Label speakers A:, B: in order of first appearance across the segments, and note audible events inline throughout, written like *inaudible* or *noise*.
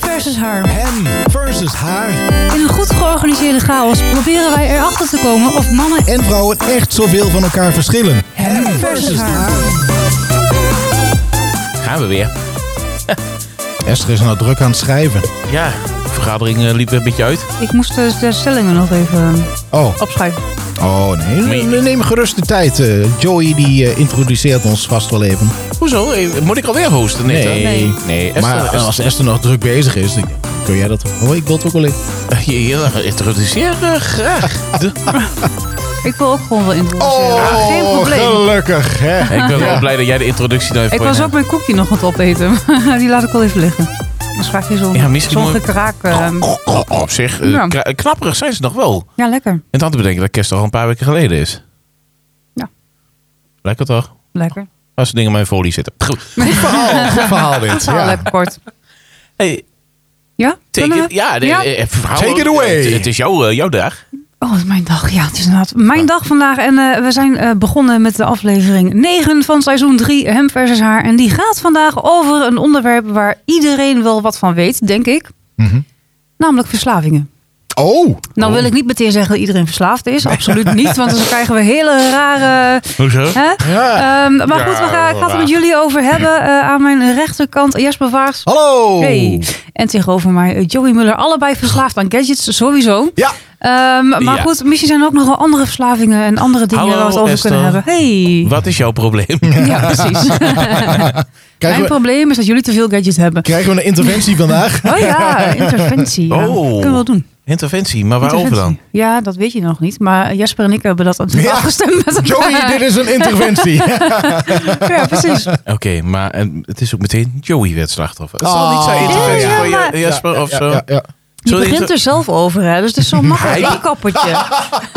A: versus haar.
B: Hem versus haar.
A: In een goed georganiseerde chaos proberen wij erachter te komen of mannen
B: en vrouwen echt zoveel van elkaar verschillen.
A: Hem versus haar.
C: Gaan we weer.
B: Esther is nou druk aan het schrijven.
C: Ja, de vergadering eh, liep een beetje uit.
A: Ik moest de, de stellingen nog even eh,
B: Oh,
A: opschrijven.
B: oh nee.
C: Maar je-
B: Ne- Neem gerust de tijd. eh. Joey die eh, introduceert ons vast wel even.
C: Hoezo? Eh, Moet ik alweer hosten? Nee, toch?
A: Nee.
C: nee Esther,
B: maar eh,
C: Esther-
B: als Esther nog druk bezig is, dan kun jij dat wel. Oh, ik wil het ook wel in.
C: *laughs* Je, je introduceer eh, graag. De- *laughs*
A: Ik wil ook gewoon wel introduceren. Geen probleem.
B: Oh, gelukkig.
A: *laughs*
B: Hè?
C: ik ben wel blij dat jij de introductie nou even
A: Ik
C: voor je
A: was ook
C: hebt.
A: mijn koekje nog aan het opeten. *laughs* Die laat ik wel even liggen. Dan schrijf je zo'n
C: Ja,
A: ja,
C: misschien moet-
A: gekraak. eh,
C: Oh, oh, op zich, eh,
A: Ja.
C: kra- knapperig zijn ze nog wel.
A: ja, lekker.
C: En dan te bedenken dat kerst al een paar weken geleden is.
A: Ja.
C: Lekker toch?
A: Lekker.
C: Als de dingen in mijn folie zitten. Goed.
B: Verhaal, goed verhaal dit.
A: Ja. lekker kort.
C: Hey,
A: Ja?
C: take
A: Kunnen
C: it,
A: we?
C: ja, de-
A: Ja?
C: eh, verhaal-
B: Take it away.
C: Het, het is jouw, eh, jouw dag.
A: Oh, het is mijn dag. Ja, het is inderdaad mijn dag vandaag. En eh, we zijn eh, begonnen met de aflevering 9 van seizoen 3, Hem versus Haar. En die gaat vandaag over een onderwerp waar iedereen wel wat van weet, denk ik.
B: Mhm.
A: Namelijk verslavingen.
B: Oh,
A: Nou wil ik niet meteen zeggen dat iedereen verslaafd is. Absoluut niet, want dan krijgen we hele rare...
C: Hoezo?
A: Hè?
B: ja.
A: Ehm, maar
C: Ja,
A: goed, we gaan, ik ga het er met
C: waar.
A: jullie over hebben. Eh, aan mijn rechterkant Jasper Vaars.
B: Hallo.
A: Hey. En tegenover mij eh, Joey Muller. Allebei verslaafd aan gadgets, sowieso.
B: Ja.
A: Ehm, maar
C: Ja.
A: goed, misschien zijn er ook nog wel andere verslavingen en andere dingen
C: Hallo,
A: waar we het over
C: Esther.
A: kunnen hebben. Hey.
C: Wat is jouw *laughs* probleem?
A: Ja, precies.
B: Krijgen,
A: *laughs* mijn
B: we,
A: probleem is dat jullie te veel gadgets hebben.
B: krijgen we een interventie
A: *laughs*
B: vandaag?
A: Oh
C: *laughs*
A: ja, interventie. Ja.
C: Oh.
A: Kunnen we wel doen.
C: Interventie, maar waarover dan?
A: Interventie. Ja, dat weet je nog niet. Maar Jasper en ik hebben dat natuurlijk
B: Ja.
A: afgestemd met
C: *laughs*
B: Joey, dit
A: elkaar.
B: is een interventie.
A: Ja, precies.
C: Oké, maar eh, het is ook meteen Joey werd slachtoffer. Het zal
B: Oh.
C: niet zijn interventie
A: Ja, ja,
C: van je-
A: maar-
C: Jasper of
B: Ja,
C: zo.
B: ja, ja.
A: Je
C: Sorry,
A: begint
C: inter-
A: er zelf over, hè? dus het is zo'n makkelijk
C: Hij-
A: inkappertje.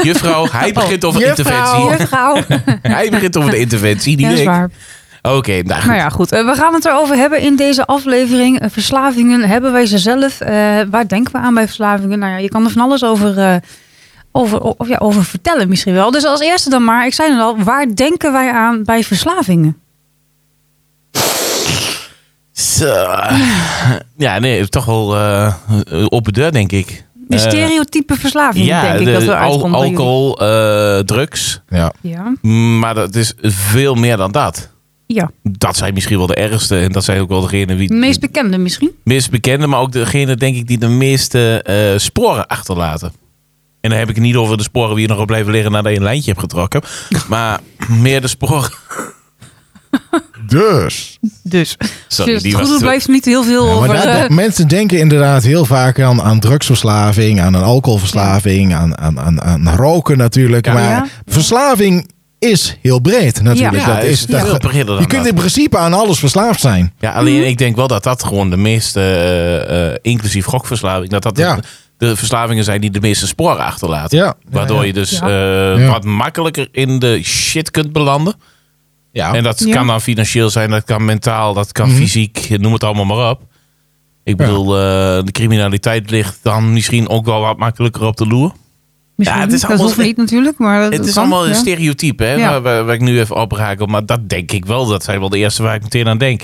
C: Juffrouw,
A: *laughs*
C: hij begint over
B: Juffrouw.
C: interventie.
A: Juffrouw.
C: Hij begint over de interventie, niet
A: Ja, dat is
C: ik.
A: waar.
C: Oké, nou goed.
A: Nou ja, goed. Eh, we gaan het erover hebben in deze aflevering. Eh, verslavingen, hebben wij ze zelf? Eh, waar denken we aan bij verslavingen? Nou ja, je kan er van alles over, eh, over, o- of ja, over vertellen misschien wel. Dus als eerste dan maar, ik zei het al, waar denken wij aan bij verslavingen?
C: Zo. Ja, nee, toch wel eh, op de deur, denk ik.
A: De
C: Eh,
A: stereotype verslavingen,
C: ja,
A: denk ik,
C: de
A: dat we
C: al-
A: uitkomen. bij jullie.
C: alcohol, eh, drugs.
B: Ja.
A: Ja,
C: Maar dat is veel meer dan dat.
A: ja.
C: Dat zijn misschien wel de ergste. En dat zijn ook wel degene die
A: De meest bekende misschien.
C: meest bekende, maar ook degene, denk ik, die de meeste eh, sporen achterlaten. En dan heb ik het niet over de sporen die er nog op blijven liggen nadat je een lijntje hebt getrokken. Maar *laughs* meer de sporen.
B: Dus.
A: Dus,
C: Sorry,
A: dus
C: die
A: het goed
C: was
A: doet,
C: te-
A: blijft niet heel veel
B: Ja, maar
A: over...
B: daar-
A: eh,
B: daar- mensen denken inderdaad heel vaak aan, aan drugsverslaving, aan een alcoholverslaving, aan, aan, aan, aan roken natuurlijk.
C: Ja.
B: Maar
A: Ja.
B: verslaving is heel breed natuurlijk.
A: Ja,
B: dat
C: het
B: is, dat-
C: veel breder dan
B: je kunt Mhm.
C: dat.
B: in principe aan alles verslaafd zijn.
C: Ja, alleen ik denk wel dat dat gewoon de meeste, eh, eh, inclusief gokverslaving, dat dat de-
B: Ja.
C: de, verslavingen zijn die de meeste sporen achterlaten.
B: Ja.
C: Waardoor je dus
A: Ja.
C: eh,
B: Ja.
C: wat makkelijker in de shit kunt belanden.
B: Ja.
C: En dat
A: Ja.
C: kan dan financieel zijn, dat kan mentaal, dat kan fysiek, noem het allemaal maar op. Ik
B: Ja.
C: bedoel, eh, de criminaliteit ligt dan misschien ook wel wat makkelijker op de loer.
A: misschien
C: Ja, het
A: niet.
C: is
A: dat
C: allemaal-
A: hoeft niet natuurlijk, maar dat
C: Het is
A: kan,
C: allemaal een
A: ja.
C: stereotype, hè,
A: Ja.
C: waar, waar- waar ik nu even op raak. Maar dat denk ik wel, dat zijn wel de eerste waar ik meteen aan denk.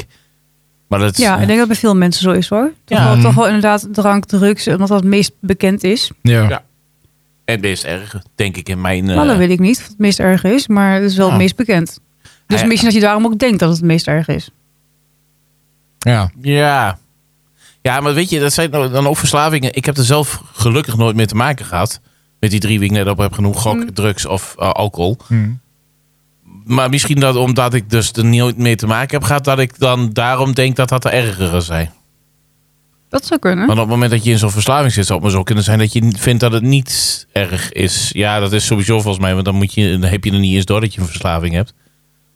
C: Maar dat,
A: Ja, ik denk dat bij veel mensen zo is hoor. Toch,
C: Ja. Mhm.
A: wel, toch wel inderdaad drank, drugs, omdat dat het meest bekend is.
B: Ja.
C: Ja. En meest erg, denk ik, in mijn... eh,
A: Maar dat weet ik niet, of het meest erg is, maar het is wel
C: Ah.
A: het meest bekend. Dus
C: Ah, ja.
A: misschien dat je daarom ook denkt dat het het meest erg is.
B: Ja.
C: Ja. Ja, maar weet je, dat zijn nou dan ook verslavingen. Ik heb er zelf gelukkig nooit mee te maken gehad. Met die drie die ik net op heb genoemd. Gok, drugs of eh, alcohol. Maar misschien dat omdat ik dus er nooit mee te maken heb gehad... dat ik dan daarom denk dat dat de ergere zijn.
A: Dat zou kunnen.
C: Want op het moment dat je in zo'n verslaving zit... zou het maar zo kunnen zijn dat je vindt dat het niet erg is. Ja, dat is sowieso volgens mij. Want dan, moet je, dan heb je er niet eens door dat je een verslaving hebt.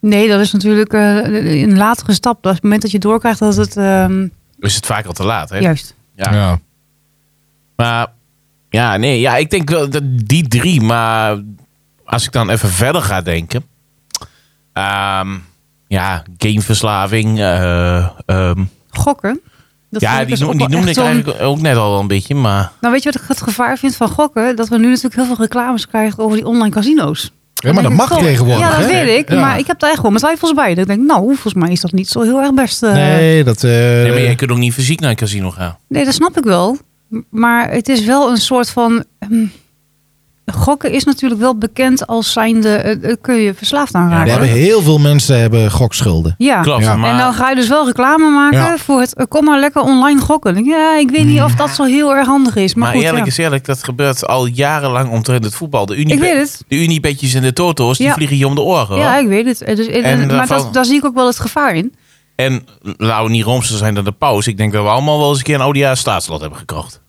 A: Nee, dat is natuurlijk eh, een latere stap. Op het moment dat je doorkrijgt dat het... ehm,
C: Is het vaak al te laat, hè?
A: juist.
C: Ja. Maar ja, nee, ja, ik denk wel dat die drie. Maar als ik dan even verder ga denken. ehm, ja, gameverslaving. eh, ehm,
A: Gokken. Dat vind
C: ja,
A: ik
C: die,
A: dus
C: noem-
A: ook
C: die
A: wel
C: noemde ik
A: echt zo'n-
C: eigenlijk ook net al wel een beetje. Maar
A: Nou weet je wat ik het gevaar vind van gokken? Dat we nu natuurlijk heel veel reclames krijgen over die online casino's.
B: Ja, maar dat mag tegenwoordig.
A: Ja, dat
B: hè?
A: weet ik.
B: Ja.
A: Maar ik heb daar echt wel mijn twijfels bij. Dat ik denk, nou, volgens mij is dat niet zo heel erg best. eh,
B: Nee, dat... eh,
C: Nee, maar jij kunt ook niet fysiek naar een casino gaan.
A: Nee, dat snap ik wel. M- Maar het is wel een soort van. ehm, gokken is natuurlijk wel bekend als zijnde. eh, eh, kun je verslaafd aan
C: Ja,
B: we
A: raken.
B: hebben heel veel mensen hebben gokschulden.
A: Ah. Ja.
C: Klopt,
B: Ja.
C: maar
A: En dan ga je dus wel reclame maken
B: Ja.
A: voor het. eh, kom maar lekker online gokken. Ik- Ja, ik weet niet of dat zo heel erg handig is. Maar,
C: Maar
A: goed,
C: eerlijk
A: ja.
C: is eerlijk, dat gebeurt al jarenlang omtrent het voetbal. De
A: ik weet
C: Unibet-
A: het.
C: de Unibetjes en de Toto's, die
A: Ja.
C: vliegen je om de oren. hoor.
A: Ja, ik weet het. Eh, Dus, eh,
C: Oh. En
A: maar
C: daarvan-
A: dat, daar zie ik ook wel het gevaar in.
C: En laten we niet roomser zijn dan de pauze. Ik denk dat we allemaal wel eens een keer een ODA staatslot hebben gekocht.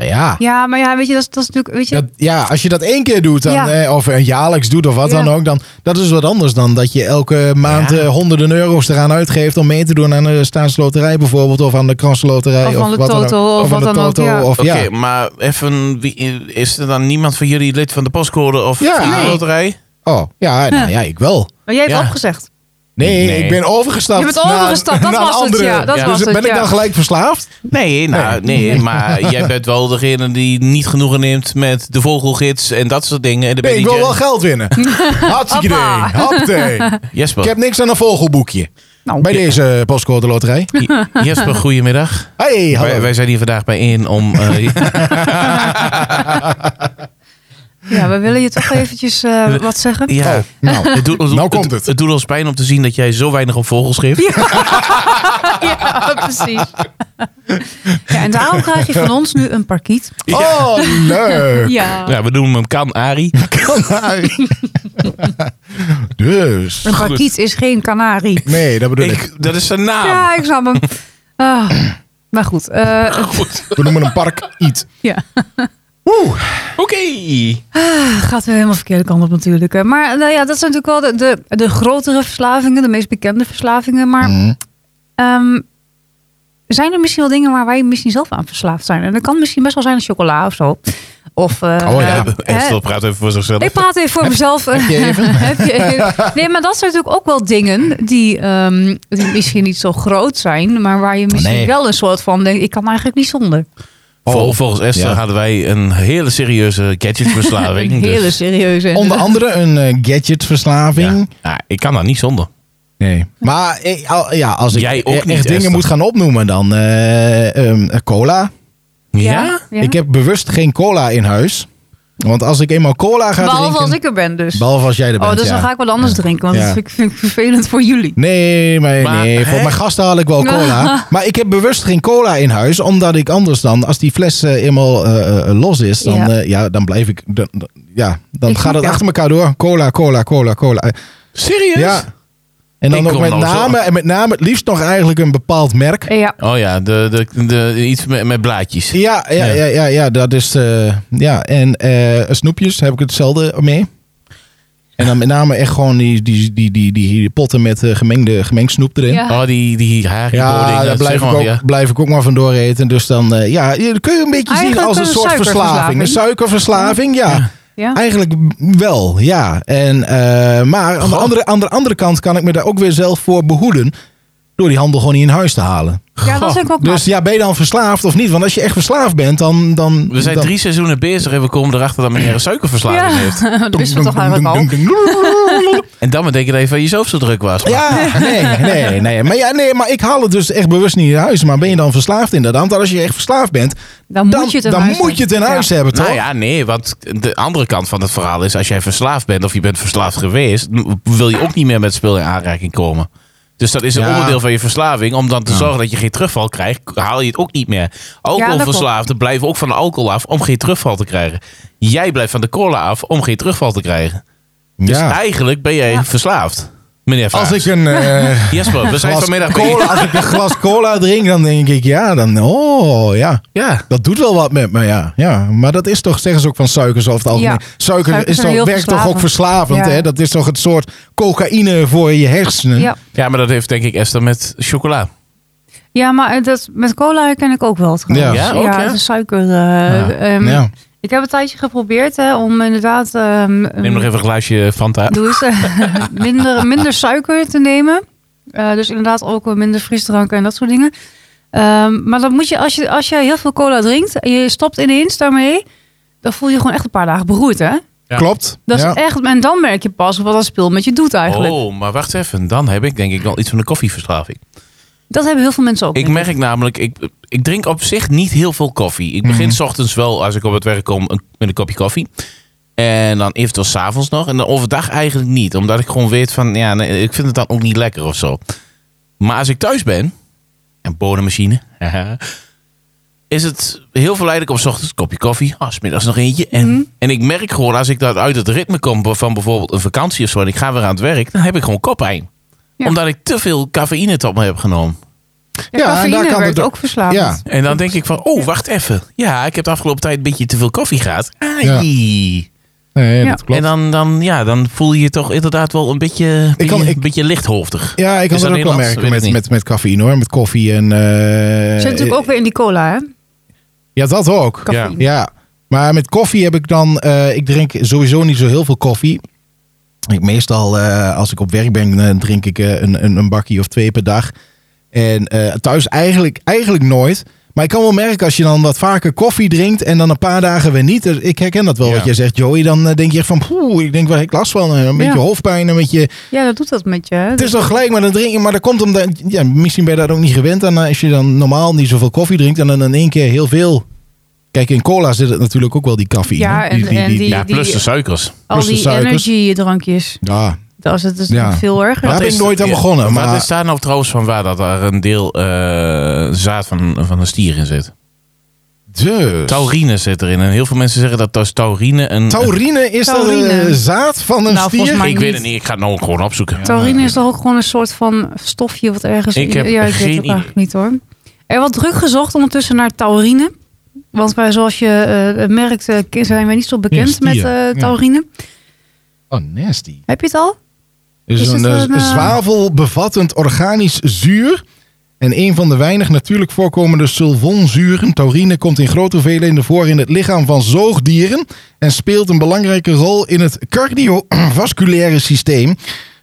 B: Ja, ja.
A: Ja, maar ja, weet je, dat, is- dat is natuurlijk. Weet je,
B: Dat- ja, als je dat één keer doet, dan,
A: Ja.
B: eh, of een jaarlijks doet of wat
A: Ja.
B: dan ook, dan dat is wat anders dan dat je elke maand
C: Ja.
B: eh, honderden euro's eraan uitgeeft om mee te doen aan de staatsloterij bijvoorbeeld, of aan de kransloterij,
A: Of
B: of,
A: aan de
B: wat dan
A: Toto, of
B: ook. aan
A: wat
B: de
A: dan ook,
B: Toto,
A: ja.
B: Of,
C: Oké,
B: ja.
C: maar even, wie, is er dan niemand van jullie lid van de postcode of
B: Ja.
C: van de
B: Nee.
C: loterij?
B: Oh, ja, nou ja, ik wel.
A: maar oh, jij hebt
C: ja.
A: opgezegd.
B: Nee,
C: Nee.
B: ik ben overgestapt.
A: Je bent overgestapt,
B: naar-
A: dat
B: naar
A: was
B: een
A: het,
B: andere.
A: ja, dat
B: dus
A: was het,
B: ben ik
A: ja.
B: dan gelijk verslaafd?
C: Nee, nou,
B: *laughs*
C: nee. maar jij bent wel degene die niet genoegen neemt met de vogelgids en dat soort dingen. En dan
B: Nee,
C: ben
B: ik
C: je
B: wil wel geld
A: *laughs*
B: winnen. Hartstikke
A: Hoppa.
B: idee. Hapte.
C: *laughs* Jesper,
B: Ik heb niks aan een vogelboekje.
A: Nou,
B: Bij deze postcode loterij.
C: Je- Jesper, goedemiddag.
B: Hey, *laughs* hallo.
C: Wij, wij zijn hier vandaag bijeen
B: *laughs*
C: om... eh,
A: Ja, we willen je
C: *laughs*
A: toch eventjes eh, wat zeggen.
C: Dus- ja,
B: Oh, nou,
C: Het doet, ons-
B: Nou komt het.
C: Het doet ons pijn om te zien dat jij zo weinig op vogels geeft.
A: *laughs* Ja, precies. Ja, en daarom krijg je van ons nu een parkiet.
B: Oh,
A: *laughs*
B: leuk.
A: Ja.
C: Ja, we noemen hem Kan-Ari.
B: Kanarie. *laughs* dus.
A: Een parkiet is geen kanarie.
B: Nee, dat bedoel ik.
C: dat is zijn naam.
A: Ja, ik snap hem. Ah, maar goed. eh,
C: Goed.
B: We noemen een park iets.
A: ja.
B: Oeh.
C: Oké.
A: Gaat weer helemaal verkeerde kant op natuurlijk. hè. Maar nou ja, dat zijn natuurlijk wel de, de, de grotere verslavingen. De meest bekende verslavingen. Maar
B: Mm.
A: ehm, zijn er misschien wel dingen waar wij misschien zelf aan verslaafd zijn? En dat kan misschien best wel zijn chocola of zo. Of, eh, *laughs*
B: Oh ja,
A: eh,
C: Estel praat even voor zichzelf.
A: Ik praat even voor mezelf. eh, *laughs* Heb je even? Nee, maar dat zijn natuurlijk ook wel dingen die, ehm, die misschien niet zo groot zijn, maar waar je misschien
B: Oh, Nee.
A: wel een soort van denkt: ik kan eigenlijk niet zonder.
B: Oh.
C: Vol- volgens Esther
B: Ja.
C: hadden wij een hele serieuze
B: *laughs*
C: gadgetverslaving.
A: Een hele
C: dus,
A: serieuze.
B: Onder andere een eh,
C: ja.
B: gadgetverslaving.
C: Ja, ik kan daar niet zonder.
B: Nee. Maar eh, al- ja, als ik
C: Jij ook
B: e- echt
C: niet,
B: dingen
C: Esther.
B: moet gaan opnoemen, dan eh, ehm, cola.
C: Ja?
B: Ik heb bewust geen cola in huis. Want als ik eenmaal cola ga
A: Behalve
B: drinken...
A: als ik er ben, dus.
B: Behalve als jij
A: oh,
B: er bent,
A: dus
B: ja.
A: dan ga ik wat anders drinken, want
B: Ja.
A: dat vind ik, vind ik vervelend voor jullie.
B: Nee, maar,
C: Maar,
B: nee.
C: hè?
B: Voor mijn gasten haal ik
A: *laughs*
B: wel
A: Nou.
B: cola. maar ik heb bewust geen cola in huis. Omdat ik anders dan, als die fles eh, eenmaal eh, eh, los is, dan,
A: Ja.
B: ja. ja, dan blijf ik. Dan, dan- ja, dan
A: Ik
B: gaat
A: snap
B: het
A: je.
B: achter elkaar door. Cola, cola, cola, cola. Eh,
C: Serieus?
B: Ja. En
C: Ik
B: dan ook
C: kom
B: met
C: nou zo-
B: name, en met name het liefst nog eigenlijk een bepaald merk.
A: Eh, Ja,
C: Oh ja, de, de, de, iets met, met blaadjes.
B: Ja, ja,
C: Ja.
B: ja, ja, ja, dat is. eh, ja, en eh, snoepjes heb ik hetzelfde mee. En dan met name echt gewoon die, die, die, die, die, die potten met eh, gemengde, gemengd snoep erin.
A: Ja.
C: Oh, die, die haribo dingen.
B: Ja, daar
C: dat
B: blijf
C: eh, zeg
B: ik,
C: maar,
B: ook,
C: ja.
B: blijf ik ook maar vandoor eten. Dus dan eh, ja, je- dat kun je een beetje zien
A: Eigenlijk
B: als een,
A: een
B: soort verslaving. Een suikerverslaving, ja.
A: ja.
B: Eigenlijk wel, ja. En, eh, maar aan de,
C: Goh.
B: andere, aan de andere kant kan ik me daar ook weer zelf voor behoeden. Door die handel gewoon niet in huis te halen.
A: ja dat is ook maar.
B: Dus ja, ben je dan verslaafd of niet? Want als je echt verslaafd bent, dan... dan
C: We zijn
B: dan,
C: drie seizoenen bezig en we komen erachter dat meneer een
A: *laughs*
C: suikerverslaving
A: Ja.
C: heeft.
A: dat is het toch eigenlijk al.
C: En dan betekent even dat je zelf zo druk was.
B: Ja, nee, nee, nee. Maar, ja, nee, maar ik haal het dus echt bewust niet in huis. Maar ben je dan verslaafd inderdaad? Want als je echt verslaafd bent,
A: Dan,
B: dan
A: moet je het in
B: dan
A: huis
B: moet je het in huis hebben, toch?
C: Nou ja, nee, want de andere kant van het verhaal is... als jij verslaafd bent of je bent verslaafd geweest... m- wil je ook niet meer met spul in aanraking komen. Dus dat is een
B: Ja.
C: onderdeel van je verslaving. Om dan te zorgen dat je geen terugval krijgt, haal je het ook niet meer. Alcoholverslaafden blijven ook van de alcohol af om geen terugval te krijgen. Jij blijft van de cola af om geen terugval te krijgen. Dus
B: Ja.
C: eigenlijk ben jij
A: Ja.
C: verslaafd, meneer Vraag.
B: Als ik een
C: *laughs*
B: eh,
C: Jesper, we zijn
B: glas,
C: vanmiddag bij
B: cola, als ik een glas cola drink, dan denk ik, ja, dan, oh ja.
C: Ja.
B: Dat doet wel wat met me, ja. ja. Maar dat is toch, zeggen ze ook van suikers over het algemeen.
A: Ja.
B: Suiker
A: Suikers
B: is
A: zijn
B: toch,
A: heel
B: werkt toch ook verslavend,
A: Ja.
B: hè? Dat is toch het soort cocaïne voor je hersenen?
A: Ja.
C: ja, maar dat heeft denk ik Esther met chocola.
A: ja, maar eh, dat, met cola herken ik ook wel. trouwens.
C: Ja, ook, hè?
A: de suiker. eh, ehm,
B: Ja.
A: Ik heb een tijdje geprobeerd hè, om inderdaad ehm,
C: Neem nog even een glaasje Fanta.
A: doe eens, eh, *laughs* minder, minder suiker te nemen. Eh, dus inderdaad ook minder frisdranken en dat soort dingen. Ehm, maar dan moet je als, je, als jij heel veel cola drinkt en je stopt ineens daarmee, dan voel je je gewoon echt een paar dagen beroerd, hè?
C: Ja.
B: Klopt.
A: Dat
B: ja.
A: is echt, en dan merk je pas wat dat speel met je doet eigenlijk.
C: Oh, maar wacht even. Dan heb ik denk ik wel iets van een koffieverslaving.
A: Dat hebben heel veel mensen ook.
C: Ik
A: denk
C: merk namelijk, ik, ik drink op zich niet heel veel koffie. Ik begin
B: Mhm.
C: s ochtends wel, als ik op het werk kom, een- met een kopje koffie. En dan eventueel s'avonds nog. En dan overdag eigenlijk niet. Omdat ik gewoon weet van, ja, nee, ik vind het dan ook niet lekker of zo. Maar als ik thuis ben, en bodemmachine, *laughs* haha, is het heel verleidelijk om s ochtends een kopje koffie, ah, 's middags nog eentje. En,
A: Mhm.
C: en ik merk gewoon, als ik dat uit het ritme kom van bijvoorbeeld een vakantie of zo, en ik ga weer aan het werk, dan heb ik gewoon koppijn.
A: Ja.
C: Omdat ik te veel cafeïne tot me heb genomen.
A: Ja,
B: Ja, en
A: cafeïne
B: daar kan
A: werkt
B: het ook-
A: ook verslavend.
B: Ja.
C: En dan denk ik van, oh, wacht even. Ja, ik heb de afgelopen tijd een beetje te veel koffie gehad. Ai.
B: Nee,
A: Ja.
B: dat klopt.
C: En dan, dan, ja, dan voel je je toch inderdaad wel een beetje,
B: Ik kan-
C: beetje-
B: ik-
C: een beetje lichthoofdig.
B: ja, ik kan
C: Is
B: dat
C: dat
B: ook wel
C: Nederlands?
B: merken
C: Weet het
B: met,
C: niet.
B: met, met cafeïne hoor. Met koffie en... eh,
A: Zit natuurlijk ook weer in die cola, hè?
B: Ja, dat ook.
A: Cafeïne.
B: Ja, maar met koffie heb ik dan... eh, ik drink sowieso niet zo heel veel koffie. Ik meestal, eh, als ik op werk ben, eh, drink ik eh, een, een, een bakje of twee per dag. En eh, thuis eigenlijk, eigenlijk nooit. Maar ik kan wel merken als je dan wat vaker koffie drinkt en dan een paar dagen weer niet. Dus Ik herken dat wel
C: Ja.
B: wat jij zegt, Joey. Dan eh, denk je echt van, poeh, ik denk wel, ik last van een beetje
A: Ja.
B: hoofdpijn, een beetje
A: Ja, dat doet dat met je. hè?
B: Het is dan gelijk, maar dan drink je. Maar dat komt omdat. Ja, misschien ben je daar ook niet gewend aan. eh, Als je dan normaal niet zoveel koffie drinkt. en dan in één keer heel veel. Kijk, in cola zit het natuurlijk ook wel die cafeïne.
A: Ja, en- en die-
C: Ja, plus
A: die-
C: de suikers.
A: Al
B: plus de
A: die
B: suikers.
A: energiedrankjes.
B: Ja,
A: Dat is, het is
B: Ja.
A: nog veel erger.
B: Ja. Daar ben ik nooit aan begonnen,
C: Maar
B: maar-
C: wat is daar nou trouwens van waar dat er een deel eh, zaad van, van een stier in zit?
B: dus.
C: Taurine zit erin. En heel veel mensen zeggen dat dat taurine een...
B: Taurine is dat
A: Taurine.
B: de zaad van een
A: Nou, volgens
B: stier?
A: mij-
C: ik weet het niet. Ik ga het nou gewoon opzoeken.
A: Taurine is toch ook gewoon een soort van stofje wat ergens...
C: Ik heb
A: ja, ik
C: geen
A: weet het ook
C: idee.
A: eigenlijk niet hoor. Er wordt druk gezocht ondertussen naar taurine. Want wij, zoals je eh, merkt, eh, zijn wij niet zo bekend
B: Ja,
A: met
B: stier.
A: eh,
B: Ja.
A: taurine.
B: Oh, nasty.
A: Heb je het al?
B: Dus
A: Is
B: een,
A: het een,
B: eh,
A: eh,
B: zwavelbevattend organisch zuur. En een van de weinig natuurlijk voorkomende sulfonzuren, taurine, komt in grote hoeveelheden voor in het lichaam van zoogdieren. En speelt een belangrijke rol in het cardiovasculaire systeem.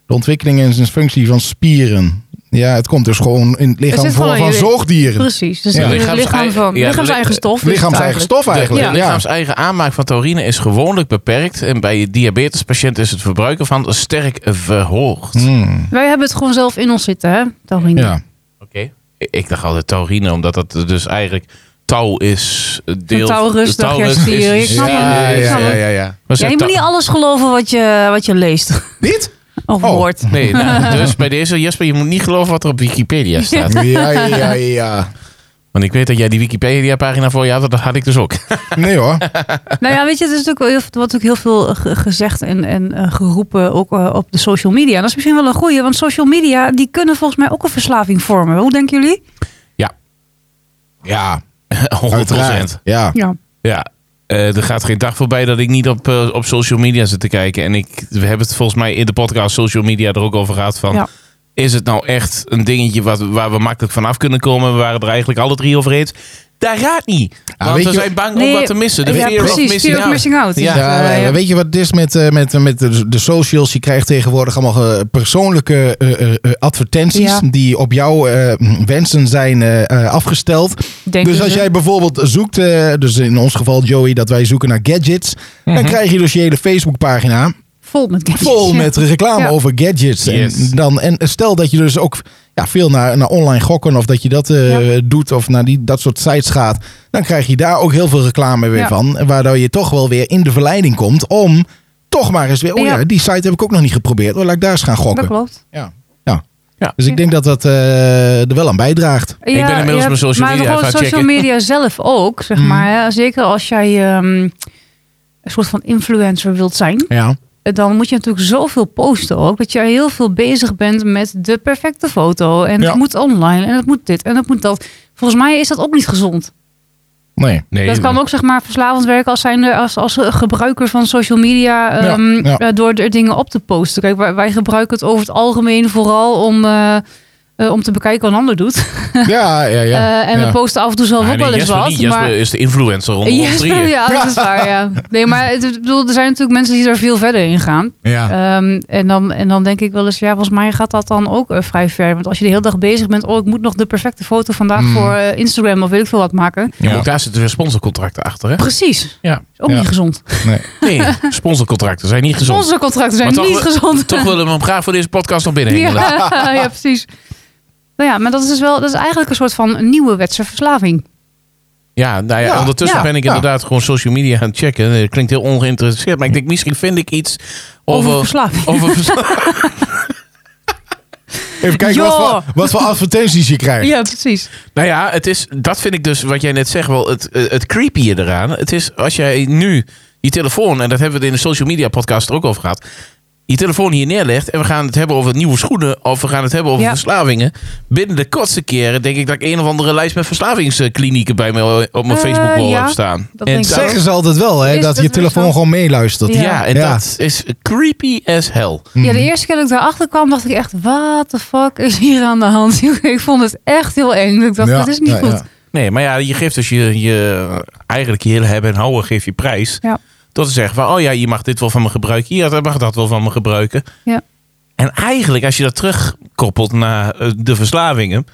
B: De ontwikkeling en zijn functie van spieren. Ja, het komt dus gewoon in het lichaam
A: zit
B: voor
A: gewoon
B: van
A: in je-
B: zoogdieren.
A: Precies. Dus
B: Ja.
A: het
C: Lichaams-
A: lichaam van,
C: ja,
A: lichaams
C: li-
A: eigen stof. is
B: Lichaams
A: het
B: eigen
A: eigenlijk.
B: stof eigenlijk.
C: De, de
B: ja.
C: lichaams eigen aanmaak van taurine is gewoonlijk beperkt. En bij diabetespatiënten is het verbruik ervan sterk verhoogd.
B: Hmm,
A: Wij hebben het gewoon zelf in ons zitten, hè? Taurine.
B: ja.
C: Oké. Ik, ik dacht altijd taurine, omdat dat dus eigenlijk touw is. eh, Deel,
A: taurus, dacht jij,
C: taurus
A: stier.
C: is-
A: Ik snap
C: Ja,
A: het.
C: ja,
A: Ik
C: ja.
A: snap het.
C: Maar
A: Ja,
C: ze
A: je moet
C: ta-
A: niet alles geloven wat je, wat je leest *laughs*
B: Dit?
A: of
B: Oh.
A: hoort. *laughs*
C: Nee, nou, dus bij deze, Jesper, je moet niet geloven wat er op Wikipedia staat.
B: Ja, ja, ja.
C: Want ik weet dat jij die Wikipedia-pagina voor je had, dat had ik dus ook. *laughs*
B: Nee hoor.
A: Nou ja, weet je, het is natuurlijk wel heel, wat ook heel veel ge- gezegd en, en eh, geroepen ook eh, op de social media. En dat is misschien wel een goeie, want social media die kunnen volgens mij ook een verslaving vormen. Hoe denken jullie?
B: Ja,
C: 100%.
B: uiteraard. Ja.
A: Ja.
C: Ja, eh, er gaat geen dag voorbij dat ik niet op, eh, op social media zit te kijken. En ik, we hebben het volgens mij in de podcast social media er ook over gehad van...
A: Ja.
C: Is het nou echt een dingetje wat, waar we makkelijk vanaf kunnen komen? We waren er eigenlijk alle drie over eens. Daar gaat niet.
B: Ah,
C: Want
B: weet
C: we
B: je-
C: zijn bang om
A: Nee,
C: wat te missen. De
A: ja,
C: fear of
A: precies.
C: missing
A: Fear of
C: out.
A: missing out.
C: Ja.
A: Ja,
B: Ja,
A: ja,
B: maar weet je wat het is met, eh, met, met de, de socials? Je krijgt tegenwoordig allemaal eh, persoonlijke eh, eh, eh, advertenties
A: Ja.
B: die op jouw eh, wensen zijn eh, eh, afgesteld.
A: Denken
B: dus als
A: ze.
B: jij bijvoorbeeld zoekt, eh, dus in ons geval Joey, dat wij zoeken naar gadgets, dan krijg je dus je hele Facebookpagina
A: Vol met gadgets.
B: vol met reclame
A: Ja.
B: over gadgets.
C: Yes.
B: En, dan, en stel dat je dus ook ja, veel naar, naar online gokken of dat je dat eh, doet of naar die, dat soort sites gaat, dan krijg je daar ook heel veel reclame weer
A: Ja.
B: van. Waardoor je toch wel weer in de verleiding komt om toch maar eens weer, oh ja,
A: Ja.
B: die site heb ik ook nog niet geprobeerd. Oh, laat ik daar eens gaan
A: Dat
B: gokken.
A: klopt.
B: Ja. Ja.
C: Ja.
B: Dus ik
A: Ja.
B: denk dat dat eh, er wel aan bijdraagt.
A: Ja,
C: ben inmiddels
A: ja,
C: mijn social
A: maar
C: media
A: gewoon
C: gaan
A: social
C: checken. Hmm.
A: media zelf ook, zeg maar. hè. Zeker als jij ehm, een soort van influencer wilt zijn.
B: Ja.
A: dan moet je natuurlijk zoveel posten ook. Dat je heel veel bezig bent met de perfecte foto. En
B: Ja.
A: het moet online. En het moet dit. En het moet dat. Volgens mij is dat ook niet gezond.
B: Nee.
C: Nee,
A: Dat kan ook zeg maar verslavend werken als, zijnde, als, als gebruiker van social media.
B: Ja,
A: ehm,
B: ja.
A: eh, door er dingen op te posten. Kijk, wij, wij gebruiken het over het algemeen vooral om eh, eh, om te bekijken wat een ander doet.
B: *laughs* Ja, ja, ja.
A: Eh, en
B: ja.
A: we posten af en toe zelf
C: Ah,
A: ook
C: nee,
A: wel eens
C: Jesper
A: wat.
C: niet. Jesper
A: maar...
C: is de influencer
A: *laughs*
C: onder ons
A: Jesper,
C: drieën.
A: ja, dat is waar. Ja. Nee, maar het, ik bedoel, er zijn natuurlijk mensen die daar veel verder in gaan.
B: ja.
C: Ah.
A: Ehm, en, dan, en dan denk ik wel eens, ja, volgens mij gaat dat dan ook eh, vrij ver. Want als je de hele dag bezig bent, oh, ik moet nog de perfecte foto vandaag
C: Hmm.
B: Mm.
A: voor eh, Instagram of weet ik veel wat maken.
C: Ja, maar
B: Ja.
C: ook daar zitten weer sponsorcontracten achter, hè?
A: Precies.
C: Ja.
A: Is ook
B: Ja.
A: niet gezond.
B: Nee.
C: Nee, *laughs* sponsorcontracten zijn niet gezond.
A: Onze contracten zijn
C: Maar toch
A: niet
C: wel-
A: gezond.
C: Toch willen we hem graag voor deze podcast nog binnen hengelen.
A: *laughs* ja, ja, precies. Nou ja, maar dat is dus wel, dat is eigenlijk een soort van nieuwe wetse verslaving.
C: Ja, nou ja,
B: Ja,
C: ondertussen
A: ja,
C: ben ik
B: ja.
C: inderdaad gewoon social media aan het checken. Het klinkt heel ongeïnteresseerd, maar ik denk misschien vind ik iets
A: Over,
C: over...
A: verslaving.
C: over
A: *laughs*
C: vers-
B: Even kijken wat
A: Joh.
B: voor, wat voor advertenties je krijgt.
A: Ja, precies.
C: nou ja, het is, dat vind ik dus wat jij net zegt wel het, eh, het creepy eraan. Het is als jij nu je telefoon, en dat hebben we het in de social media podcast er ook over gehad... Je telefoon hier neerlegt en we gaan het hebben over nieuwe schoenen of we gaan het hebben over
A: Ja.
C: verslavingen. Binnen de kortste keren denk ik dat ik een of andere lijst met verslavingsklinieken bij me op mijn
A: Eh,
C: Facebook wall
A: ja,
C: heb staan.
A: dat denk ik
C: daar-
A: ook.
B: Zeggen ze altijd wel, hè,
A: Is
B: dat
A: dat
B: je
A: weer
B: telefoon
A: zo?
B: gewoon meeluistert.
A: Ja.
C: Ja, en
B: Ja.
C: dat is creepy as hell.
A: Ja, de eerste keer dat ik daarachter kwam, dacht ik echt, wat de fuck is hier aan de hand? *laughs* ik vond het echt heel eng. Ik dacht,
B: Ja,
A: dat is niet
B: ja,
A: goed.
B: ja.
C: Nee, maar ja, je geeft dus je, je eigenlijk je hele hebben en houden geef je prijs.
A: Ja.
C: Tot te zeggen van, oh ja, je mag dit wel van me gebruiken. Ja, dat mag dat wel van me gebruiken.
A: Ja.
C: En eigenlijk, als je dat terugkoppelt naar eh, de verslavingen.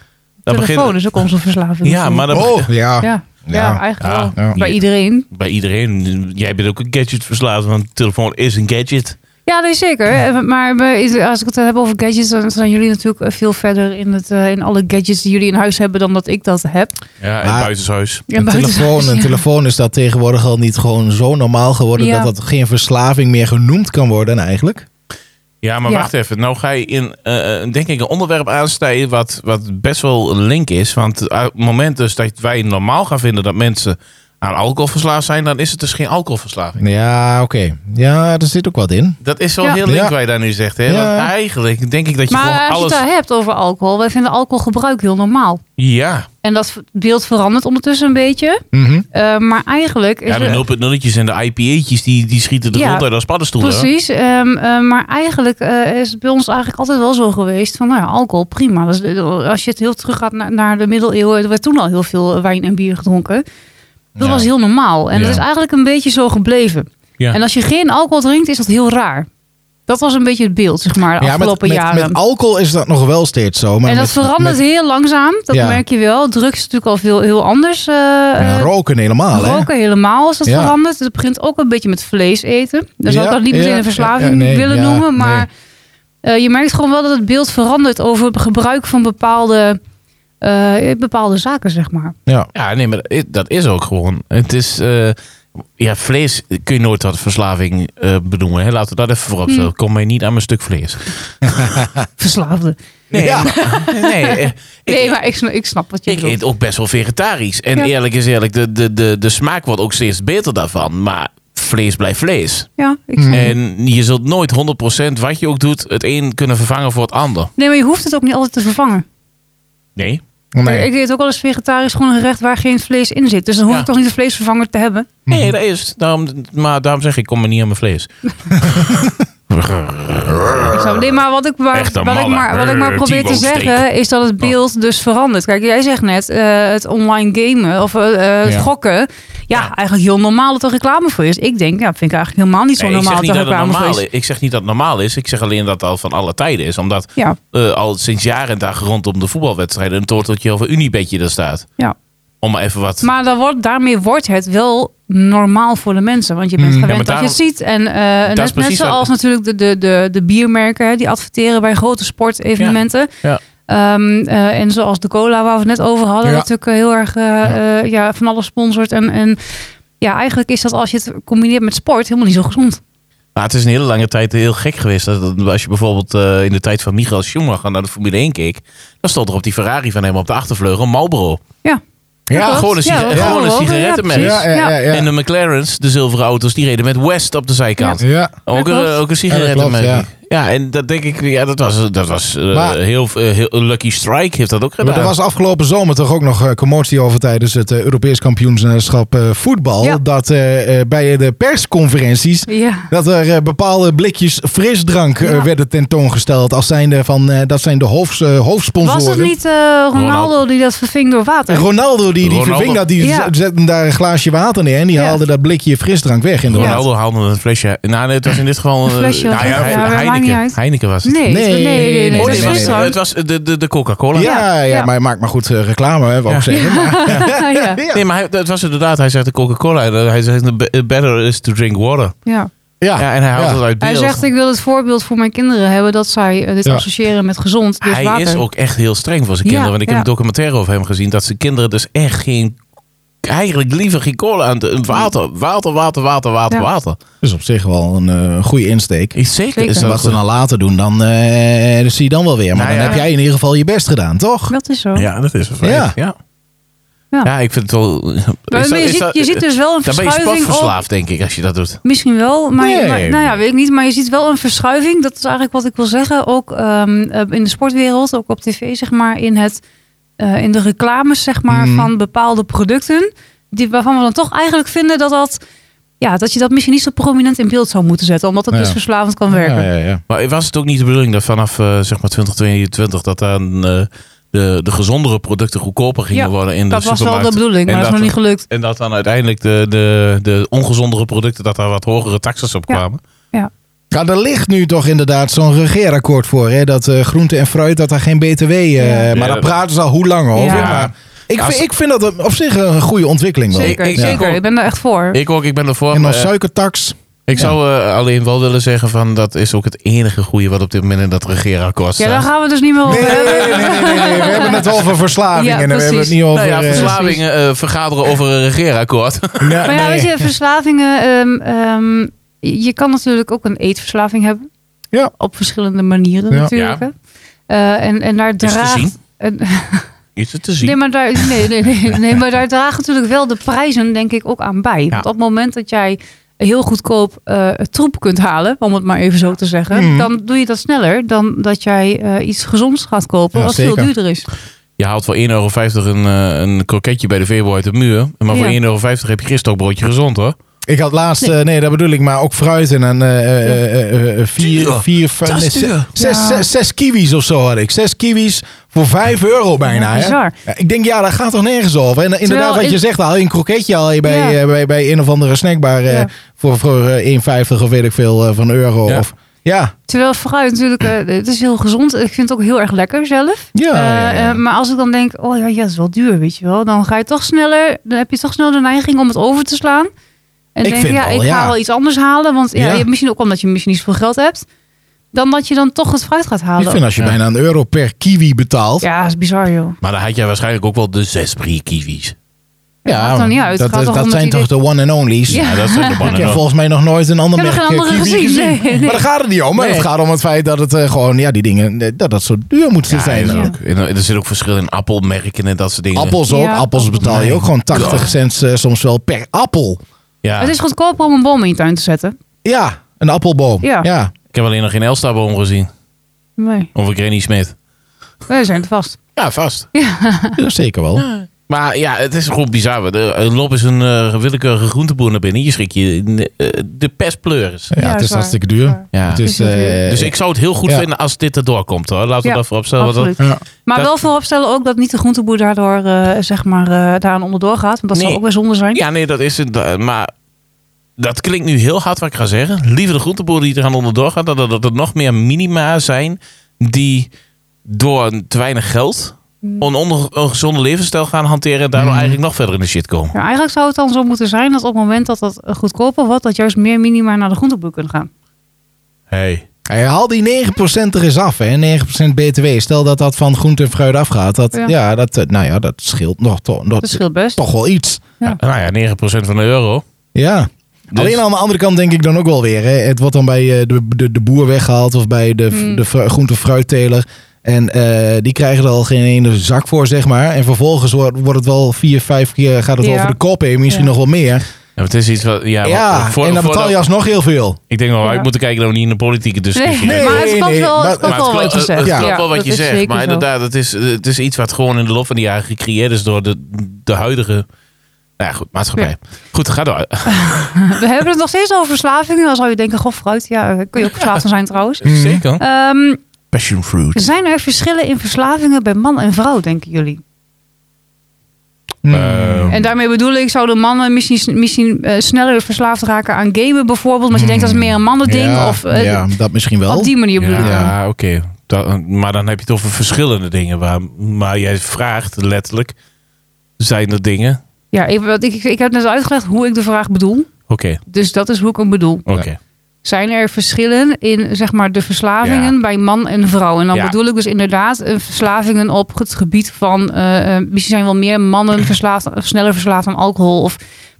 C: Dan
A: Telefoon
C: begint
A: is ook onze verslaving.
C: Ja, maar Ah, dan
B: Oh,
A: Ja,
B: ja.
A: ja,
B: Ja,
A: eigenlijk
C: ja,
A: wel.
B: ja.
A: Bij iedereen.
C: bij iedereen, jij bent ook een gadget verslaafd, want een telefoon is een gadget.
A: Ja, nee, zeker. Eh, Maar bij- als ik het heb over gadgets, dan zijn jullie natuurlijk eh, veel verder in, het, eh, in alle gadgets die jullie in huis hebben dan dat ik dat heb.
C: Ja, en
B: Maar-
C: buitenshuis.
A: Ja,
B: Een
A: buiten-
B: telefoon,
A: *laughs*
B: een
A: Ja.
B: telefoon is dat tegenwoordig al niet gewoon zo normaal geworden
A: Ja.
B: dat dat geen verslaving meer genoemd kan worden eigenlijk.
C: Ja, maar
A: Ja.
C: wacht even. Nou ga je in, eh, eh, denk ik, een onderwerp aansnijden wat, wat best wel een link is. Want eh, op het moment dus dat wij normaal gaan vinden dat mensen aan alcohol verslaafd zijn, dan is het dus geen alcoholverslaving.
B: Ja, oké. Ja, er zit ook wat in.
C: Dat is wel
A: Ja.
C: heel link
B: Ja.
C: wat je daar nu zegt. Hè?
B: Ja.
C: Want eigenlijk denk ik dat je
A: Maar
C: gewoon
A: als je het
C: alles...
A: daar hebt over alcohol, wij vinden alcoholgebruik heel normaal.
C: Ja,
A: En dat beeld verandert ondertussen een beetje.
B: Mhm.
A: Eh, maar eigenlijk is
C: ja
A: er-
C: de 0.0'tjes en de IPA'tjes die, die schieten de
A: Ja.
C: grond uit als paddenstoelen. hoor.
A: Precies, ehm, eh, maar eigenlijk eh, is het bij ons eigenlijk altijd wel zo geweest van, nou ja, alcohol, prima. Dus, eh, als je het heel terug gaat naar, naar de middeleeuwen, er werd toen al heel veel eh, wijn en bier gedronken. Dat
C: Ja.
A: was heel normaal en
C: Ja.
A: dat is eigenlijk een beetje zo gebleven.
C: Ja.
A: En als je geen alcohol drinkt, is dat heel raar. Dat was een beetje het beeld, zeg maar, de
B: Ja, met,
A: afgelopen
B: met,
A: jaren.
B: met alcohol is dat nog wel steeds zo. Maar
A: en dat
B: met-
A: verandert
B: met-
A: heel langzaam, dat
B: Ja.
A: merk je wel. Drugs is natuurlijk al veel, heel anders. eh,
B: ja,
A: eh,
B: roken helemaal, hè?
A: Roken helemaal is dat
B: Ja.
A: veranderd. Het begint ook een beetje met vlees eten. Dan zou
B: Ja,
A: ik dat niet meteen
B: ja,
A: een verslaving
B: ja, nee,
A: willen
B: ja,
A: noemen. Maar eh, je merkt gewoon wel dat het beeld verandert over het gebruik van bepaalde, eh, bepaalde zaken, zeg maar.
B: Ja.
C: Ja, nee, maar i- dat is ook gewoon. Het is. eh, ja, vlees kun je nooit tot verslaving eh, benoemen. Hè? Laten we dat even voorop
A: Hmm.
C: stellen. Kom mij niet aan mijn stuk vlees.
A: Verslaafde.
C: Nee,
B: Ja.
C: maar- *laughs* nee, eh,
A: Nee,
C: ik,
A: maar ik, sna- ik snap wat je
C: ik
A: bedoelt.
C: eet ook best wel vegetarisch. En
A: Ja.
C: eerlijk is eerlijk, de, de, de, de smaak wordt ook steeds beter daarvan. Maar vlees blijft vlees.
A: Ja, ik
B: Mm.
A: snap.
C: En je zult nooit 100% wat je ook doet, het een kunnen vervangen voor het ander.
A: Nee, maar je hoeft het ook niet altijd te vervangen.
C: Nee.
B: Nee.
A: Ik eet ook wel eens vegetarisch gewoon een gerecht waar geen vlees in zit. Dus dan hoef
C: Ja.
A: ik toch niet een vleesvervanger te hebben.
C: Nee, dat is. Daarom, maar daarom zeg ik, kom maar niet aan mijn
A: *laughs*
C: vlees.
A: Ik snap- nee, maar wat ik maar,
C: Echte
A: wat ik
C: mannen.
A: maar, wat ik maar
C: Eh,
A: probeer te
C: T-bone steak.
A: zeggen is dat het beeld dus verandert. Kijk, jij zegt net eh, het online gamen of eh, eh,
B: Ja.
A: gokken. Ja, eigenlijk heel normaal dat er reclame voor is. Ik denk, ja, vind ik eigenlijk helemaal niet zo
C: Nee, ik
A: normaal
C: zeg
A: dat
C: niet
A: er
C: dat het
A: reclame
C: normaal
A: voor
C: is.
A: is.
C: Ik zeg niet dat het normaal is. Ik zeg alleen dat het al van alle tijden is. Omdat
A: Ja,
C: eh, al sinds jaren en dagen rondom de voetbalwedstrijden een torteltje of een unibedje er staat.
A: ja.
C: Om maar even wat.
A: Maar dan wordt, daarmee wordt het wel normaal voor de mensen. Want je bent gewend
C: Mm, Ja, maar
A: dat je het
C: daarom-
A: ziet. En eh
C: is
A: net, net
C: precies wat-
A: zoals natuurlijk de, de, de, de biermerken hè, die adverteren bij grote sportevenementen.
C: ja.
A: Ehm, eh, en zoals de cola waar we het net over hadden,
B: Ja.
A: dat natuurlijk eh, heel erg eh, eh, ja, van alles sponsort. En, en ja, eigenlijk is dat als je het combineert met sport helemaal niet zo gezond.
C: Maar het is een hele lange tijd heel gek geweest. Dat, dat- als je bijvoorbeeld eh, in de tijd van Michael Schumacher naar de Formule 1 keek. Dan stond er op die Ferrari van hem op de achtervleugel Marlboro.
A: Ja,
B: Ja,
A: klopt.
C: gewoon een
A: Ja,
C: siga-
A: dat
C: gewoon een
A: klopt.
C: sigarettenmens.
A: precies.
B: Ja, ja, ja. ja.
C: En de McLaren's, de zilveren auto's, die reden met West op de zijkant.
B: ja.
C: Ook,
A: Ja,
C: een,
A: klopt.
C: ook een
B: Ja, dat klopt,
C: sigarettenmerk. Ja,
B: ja.
C: ja. Ja, en dat denk ik, ja, dat was, dat was eh,
B: Maar-
C: heel, eh, heel- Lucky Strike heeft dat ook
B: Maar
C: gedaan.
B: er was afgelopen zomer toch ook nog eh, commotie over tijdens het eh, Europees kampioenschap eh, voetbal.
A: Ja.
B: Dat eh, eh, bij de persconferenties
A: Ja.
B: dat er eh, bepaalde blikjes frisdrank eh,
A: Ja.
B: werden tentoongesteld. Als zijnde van, eh, dat zijn de hoofds, eh, hoofdsponsoren.
A: Was het niet eh, Ronaldo
C: Ronaldo.
A: die dat verving door
B: En
A: water?
B: Ronaldo die, die
C: Ronaldo.
B: verving dat, die
A: Ja.
B: z- zette daar een glaasje water neer en die
A: Ja.
B: haalde dat blikje frisdrank weg. Inderdaad.
C: Ronaldo haalde een flesje. Nou, nee, het was in dit geval. eh,
A: flesje,
C: nou,
A: ja,
C: ja,
A: maar maakt niet
C: Heineken.
A: uit.
C: Heineken was het.
A: Nee,
B: Nee,
A: nee, nee, nee, nee, dat
B: nee, nee,
A: is
C: het was-
B: nee,
A: frisdrank.
C: het was de, de, de Coca-Cola.
B: Ja, ja,
A: Ja.
B: maar maakt maar goed eh, reclame, hè, wou ik
A: *laughs*
C: Ja.
B: zeggen. Maar,
A: ja.
B: ja.
C: Nee, maar hij, het was inderdaad, hij zegt de Coca-Cola. En eh, hij zegt, "Be- better is to drink water.
A: ja.
B: Ja.
C: Ja, en hij haalt
B: Ah. Ja.
C: het uit beeld.
A: Hij zegt, ik wil het voorbeeld voor mijn kinderen hebben dat zij eh, dit
B: Ja.
A: associëren met gezond. Dus
C: Hij
A: water.
C: is ook echt heel streng voor zijn
A: Ja,
C: kinderen. Want ik
A: ja.
C: heb een documentaire over hem gezien. Dat zijn kinderen dus echt geen... Eigenlijk liever geen cola aan het water. Water, water, water, water,
A: Ja.
C: water.
B: Dus op zich wel een eh, goede insteek.
C: Ik zeker
A: Zeker.
C: is
B: En
C: dat
B: wat ze
C: goed.
B: dan later doen, dan eh, dat zie je dan wel weer. Maar dan
C: Nou ja.
B: heb jij in ieder geval je best gedaan, toch?
A: Dat is zo.
C: Ja, dat is een feit.
B: Ja.
C: Ja. Ja.
A: Ja.
C: ik vind het wel... is
A: Maar
C: dat-
A: je,
C: is
A: ziet,
C: dat-
A: je ziet dus wel een
C: Dan ben je
A: verschuiving. op-
C: spatverslaafd, denk ik, als je dat doet.
A: Misschien wel, maar,
B: Nee.
A: maar- nou ja, weet ik niet. Maar je ziet wel een verschuiving. Dat is eigenlijk wat ik wil zeggen. Ook ehm, eh, in de sportwereld, ook op tv, zeg maar, in, het, eh, in de reclames, zeg maar,
B: Mm.
A: van bepaalde producten. Die, waarvan we dan toch eigenlijk vinden dat dat. Ja, dat je dat misschien niet zo prominent in beeld zou moeten zetten. Omdat het
B: Ja.
A: dus verslavend kan werken.
B: Ja, ja, ja.
C: Maar was het ook niet de bedoeling dat vanaf eh, zeg maar 2022 dat dan eh, de, de gezondere producten goedkoper gingen
A: Ja,
C: worden
A: Dat
C: in de
A: was wel
C: supermarkt?
A: de bedoeling, maar
C: En
A: dat is nog niet gelukt.
C: En dat dan uiteindelijk de, de, de ongezondere producten, dat daar wat hogere taxes op
A: Ja.
C: kwamen.
B: Nou, er ligt nu toch inderdaad zo'n regeerakkoord voor. Hè? Dat eh groente en fruit, dat daar geen BTW... eh,
A: Ja.
B: Maar
C: Ja.
B: daar praten ze al hoe lang over.
A: Ja.
B: Maar ik,
C: Als-
B: vind, ik vind dat op zich een goede ontwikkeling wel.
A: Zeker,
C: Ik- ik-
A: zeker.
C: ik-
A: Ik ben daar echt voor.
C: Ik ook, ik ben ervoor.
B: En dan
C: maar, eh,
B: suikertax.
C: ik zou eh, alleen wel willen zeggen van dat is ook het enige goede wat op dit moment in dat regeerakkoord
A: ja,
C: staat.
A: daar gaan we dus niet meer
B: Nee,
A: over
B: nee, nee,
A: hebben.
B: nee, nee, nee. We hebben het over verslaving.
A: Ja,
B: en we hebben het
A: precies.
B: niet over...
C: Nou ja,
B: eh,
C: verslavingen eh, vergaderen over een regeerakkoord. *laughs*
B: ja,
A: *laughs* Maar ja,
B: nee.
A: weet je, verslavingen. ehm, ehm, je kan natuurlijk ook een eetverslaving hebben.
B: Ja.
A: Op verschillende manieren
B: Ja.
A: natuurlijk.
C: Ja.
A: hè. Eh, en, en daar
C: Is te
A: draagt.
C: zien.
A: en-
C: Is het te
A: nee,
C: zien?
A: maar daar, nee, nee,
C: *laughs*
A: nee, nee, maar daar dragen natuurlijk wel de prijzen, denk ik, ook aan bij. Want op het moment dat jij heel goedkoop eh, troep kunt halen, om het maar even zo te zeggen,
B: Mhm.
A: dan doe je dat sneller dan dat jij eh, iets gezonds gaat kopen,
B: Ja,
A: wat
B: zeker.
A: veel duurder is.
C: Je haalt voor 1,50 euro een, eh, een kroketje bij de Veerboy uit de muur. Maar voor
A: Ja.
C: 1,50 euro heb je gistokbroodje gezond hoor.
B: Ik had laatst, eh,
A: Nee.
B: nee, dat bedoel ik, maar ook fruit en een eh, eh, eh, eh, vier,
C: Duur.
B: vier, vijf,
C: Dat is
B: nee, zes,
C: duur.
B: zes,
A: Ja.
B: zes- zes kiwis of zo had ik. Zes kiwis voor vijf euro bijna.
A: Ja,
B: hè?
A: bizar.
B: Ja, ik denk, ja, dat gaat toch nergens over. En eh, inderdaad,
A: Terwijl
B: wat je
A: ik-
B: zegt, haal je een kroketje al bij,
A: Ja.
B: eh, bij, bij een of andere snackbar eh,
A: Ja.
B: voor, voor eh, 1,50 of weet ik veel eh, van euro.
C: Ja.
B: Of, ja.
A: Terwijl fruit natuurlijk, eh, het is heel gezond. Ik vind het ook heel erg lekker zelf.
B: Ja,
A: Eh,
B: ja, ja.
A: eh, maar als ik dan denk, oh ja, ja, dat is wel duur, weet je wel. Dan ga je toch sneller, dan heb je toch snel de neiging om het over te slaan. En
B: Ik
A: denk,
B: vind
A: ja,
B: wel,
A: ik
B: ja.
A: ga wel iets anders halen. Want ja,
B: Ja.
A: je- misschien ook omdat je misschien niet zoveel geld hebt. Dan dat je dan toch het fruit gaat halen.
B: Ik vind als je
C: Ja.
B: bijna een euro per kiwi betaalt.
A: Ja, dat is bizar joh.
C: Maar dan had jij waarschijnlijk ook wel de zes brie kiwis.
A: maakt toch niet uit. Het
B: dat,
A: gaat
B: is-
A: toch
B: dat
A: om het
B: zijn toch de one and onlys.
A: Ja.
C: Ja, Oh, dat zijn de
B: Ik heb
C: bannen.
B: volgens mij nog nooit een ander
A: Ik heb
B: merk
A: nog geen
B: eh,
A: andere
B: kiwi
A: gezien. Nee, nee.
B: Maar daar gaat het niet om. hè.
C: Nee.
B: Het gaat om het feit dat het eh, gewoon, ja, die dingen, eh, dat dat zo duur moet
C: Ja,
B: zijn.
C: en
A: ja.
C: ook- en er zit ook verschil in appelmerken en dat soort dingen.
B: Appels ook.
A: Ja,
B: Appels
A: appels.
B: betaal je ook gewoon 80 cent eh, soms wel per appel.
C: Ja.
A: Het is goedkoper om een boom in je tuin te zetten.
B: Ja, een appelboom. Ja.
A: Ja.
C: Ik heb alleen nog geen Elstaboom gezien.
A: Nee,
C: Of een Granny Smith.
A: we zijn er vast.
C: Ja, vast.
B: Ja, zeker wel.
C: Maar ja, het is gewoon bizar. want er- Er loopt eens een eh, willekeurige groenteboer naar binnen. Je schrik je eh, de pestpleuris.
B: Ja,
A: Ja,
B: het
A: is
B: is
A: waar.
B: hartstikke duur.
A: Waar.
C: Ja.
B: Het is,
A: Is heel duur.
B: eh,
C: dus ik zou het heel goed
B: ja.
C: vinden als dit erdoor komt hoor. Laten we
A: Ja,
C: dat vooropstellen. Want dat-
A: Absoluut.
B: ja.
A: Maar
C: Dat-
A: wel vooropstellen ook dat niet de groenteboer daardoor eh, zeg maar, eh, daaraan onderdoor gaat. Want dat zou
C: Nee.
A: ook weer zonde zijn.
C: Ja, nee, dat is het. eh, Maar dat klinkt nu heel hard wat ik ga zeggen. Liever de groenteboer die er aan onderdoor gaat, dan dat er nog meer minima zijn die door een te weinig geld
A: Mm.
C: een onge- een gezonde levensstijl gaan hanteren en daardoor
B: Mm.
C: eigenlijk nog verder in de shit komen.
A: Ja, eigenlijk zou het dan zo moeten zijn dat op het moment dat dat goedkoper wordt, dat juist meer minima naar de groenteboer kunnen gaan.
C: Hey.
B: Hey, haal die 9% er eens af, hè? 9% BTW. Stel dat dat van groente en fruit afgaat. Dat, ja.
A: Ja.
B: dat, eh, nou ja, dat scheelt nog to- nog-
A: Dat scheelt best.
B: toch wel iets.
A: Ja.
C: Nou ja, 9% van de euro.
B: Ja.
C: Dus-
B: Alleen aan de andere kant denk ik dan ook wel weer. Hè. Het wordt dan bij eh, de, de, de boer weggehaald of bij de,
A: Hmm.
B: de fru- groente- fruitteler. En eh, die krijgen er al geen ene zak voor, zeg maar. En vervolgens wordt, wordt het wel vier, vijf keer gaat het
A: Ja.
B: over de kop heen, misschien
A: Ja.
B: nog wel meer.
C: want het is iets wat... Ja,
B: Ja,
C: wat- voor,
B: en dan
C: voor
B: betaal je
C: dat-
B: alsnog heel veel.
C: Ik denk wel,
A: Ja.
C: ik moet kijken dat we niet in de politieke
A: Nee,
C: discussie
A: maar het
B: nee,
A: klopt
B: nee,
A: wel,
B: maar-
A: het klopt
C: Maar
A: wel wat
C: klopt-
A: je
C: het-
A: zegt.
C: Het
A: Ja,
C: klopt wel wat
A: dat
C: je
A: is
C: zegt.
A: zeker zo.
C: Maar inderdaad, het is, het is iets wat gewoon in de loop van de jaren gecreëerd is door de, de huidige nou ja, goed, maatschappij. Goed, ga door.
A: We hebben het nog steeds over verslaving. Dan zou je denken, goh, fruit. Ja, eh, kun je ook verslaafd aan zijn trouwens.
C: Zeker.
A: Ehm,
C: Passion fruit.
A: zijn er verschillen in verslavingen bij man en vrouw, denken jullie? Mm,
B: Hmm.
C: Ehm,
A: En daarmee bedoel ik, zouden mannen misschien, misschien eh, sneller verslaafd raken aan gamen bijvoorbeeld? Maar je denkt dat
C: Hmm.
A: is meer een mannen ding.
B: Ja,
A: of eh,
B: ja, dat misschien wel.
A: op die manier bedoel ik.
C: ja,
A: Ja.
B: Ja.
C: oké. Dat- Maar dan heb je het over verschillende dingen. Waar, maar jij vraagt letterlijk, zijn er dingen?
A: ik, want ik, ik heb net uitgelegd hoe ik de vraag bedoel.
C: Oké,
A: Dus dat is hoe ik hem bedoel.
C: oké.
A: Zijn er verschillen in zeg maar, de verslavingen
C: Ja.
A: bij man en vrouw? En dan
C: Ja.
A: bedoel ik dus inderdaad eh, verslavingen op het gebied van... eh, eh, misschien zijn wel meer mannen
C: *clears throat*
A: verslaafd, of sneller verslaafd aan alcohol. Of,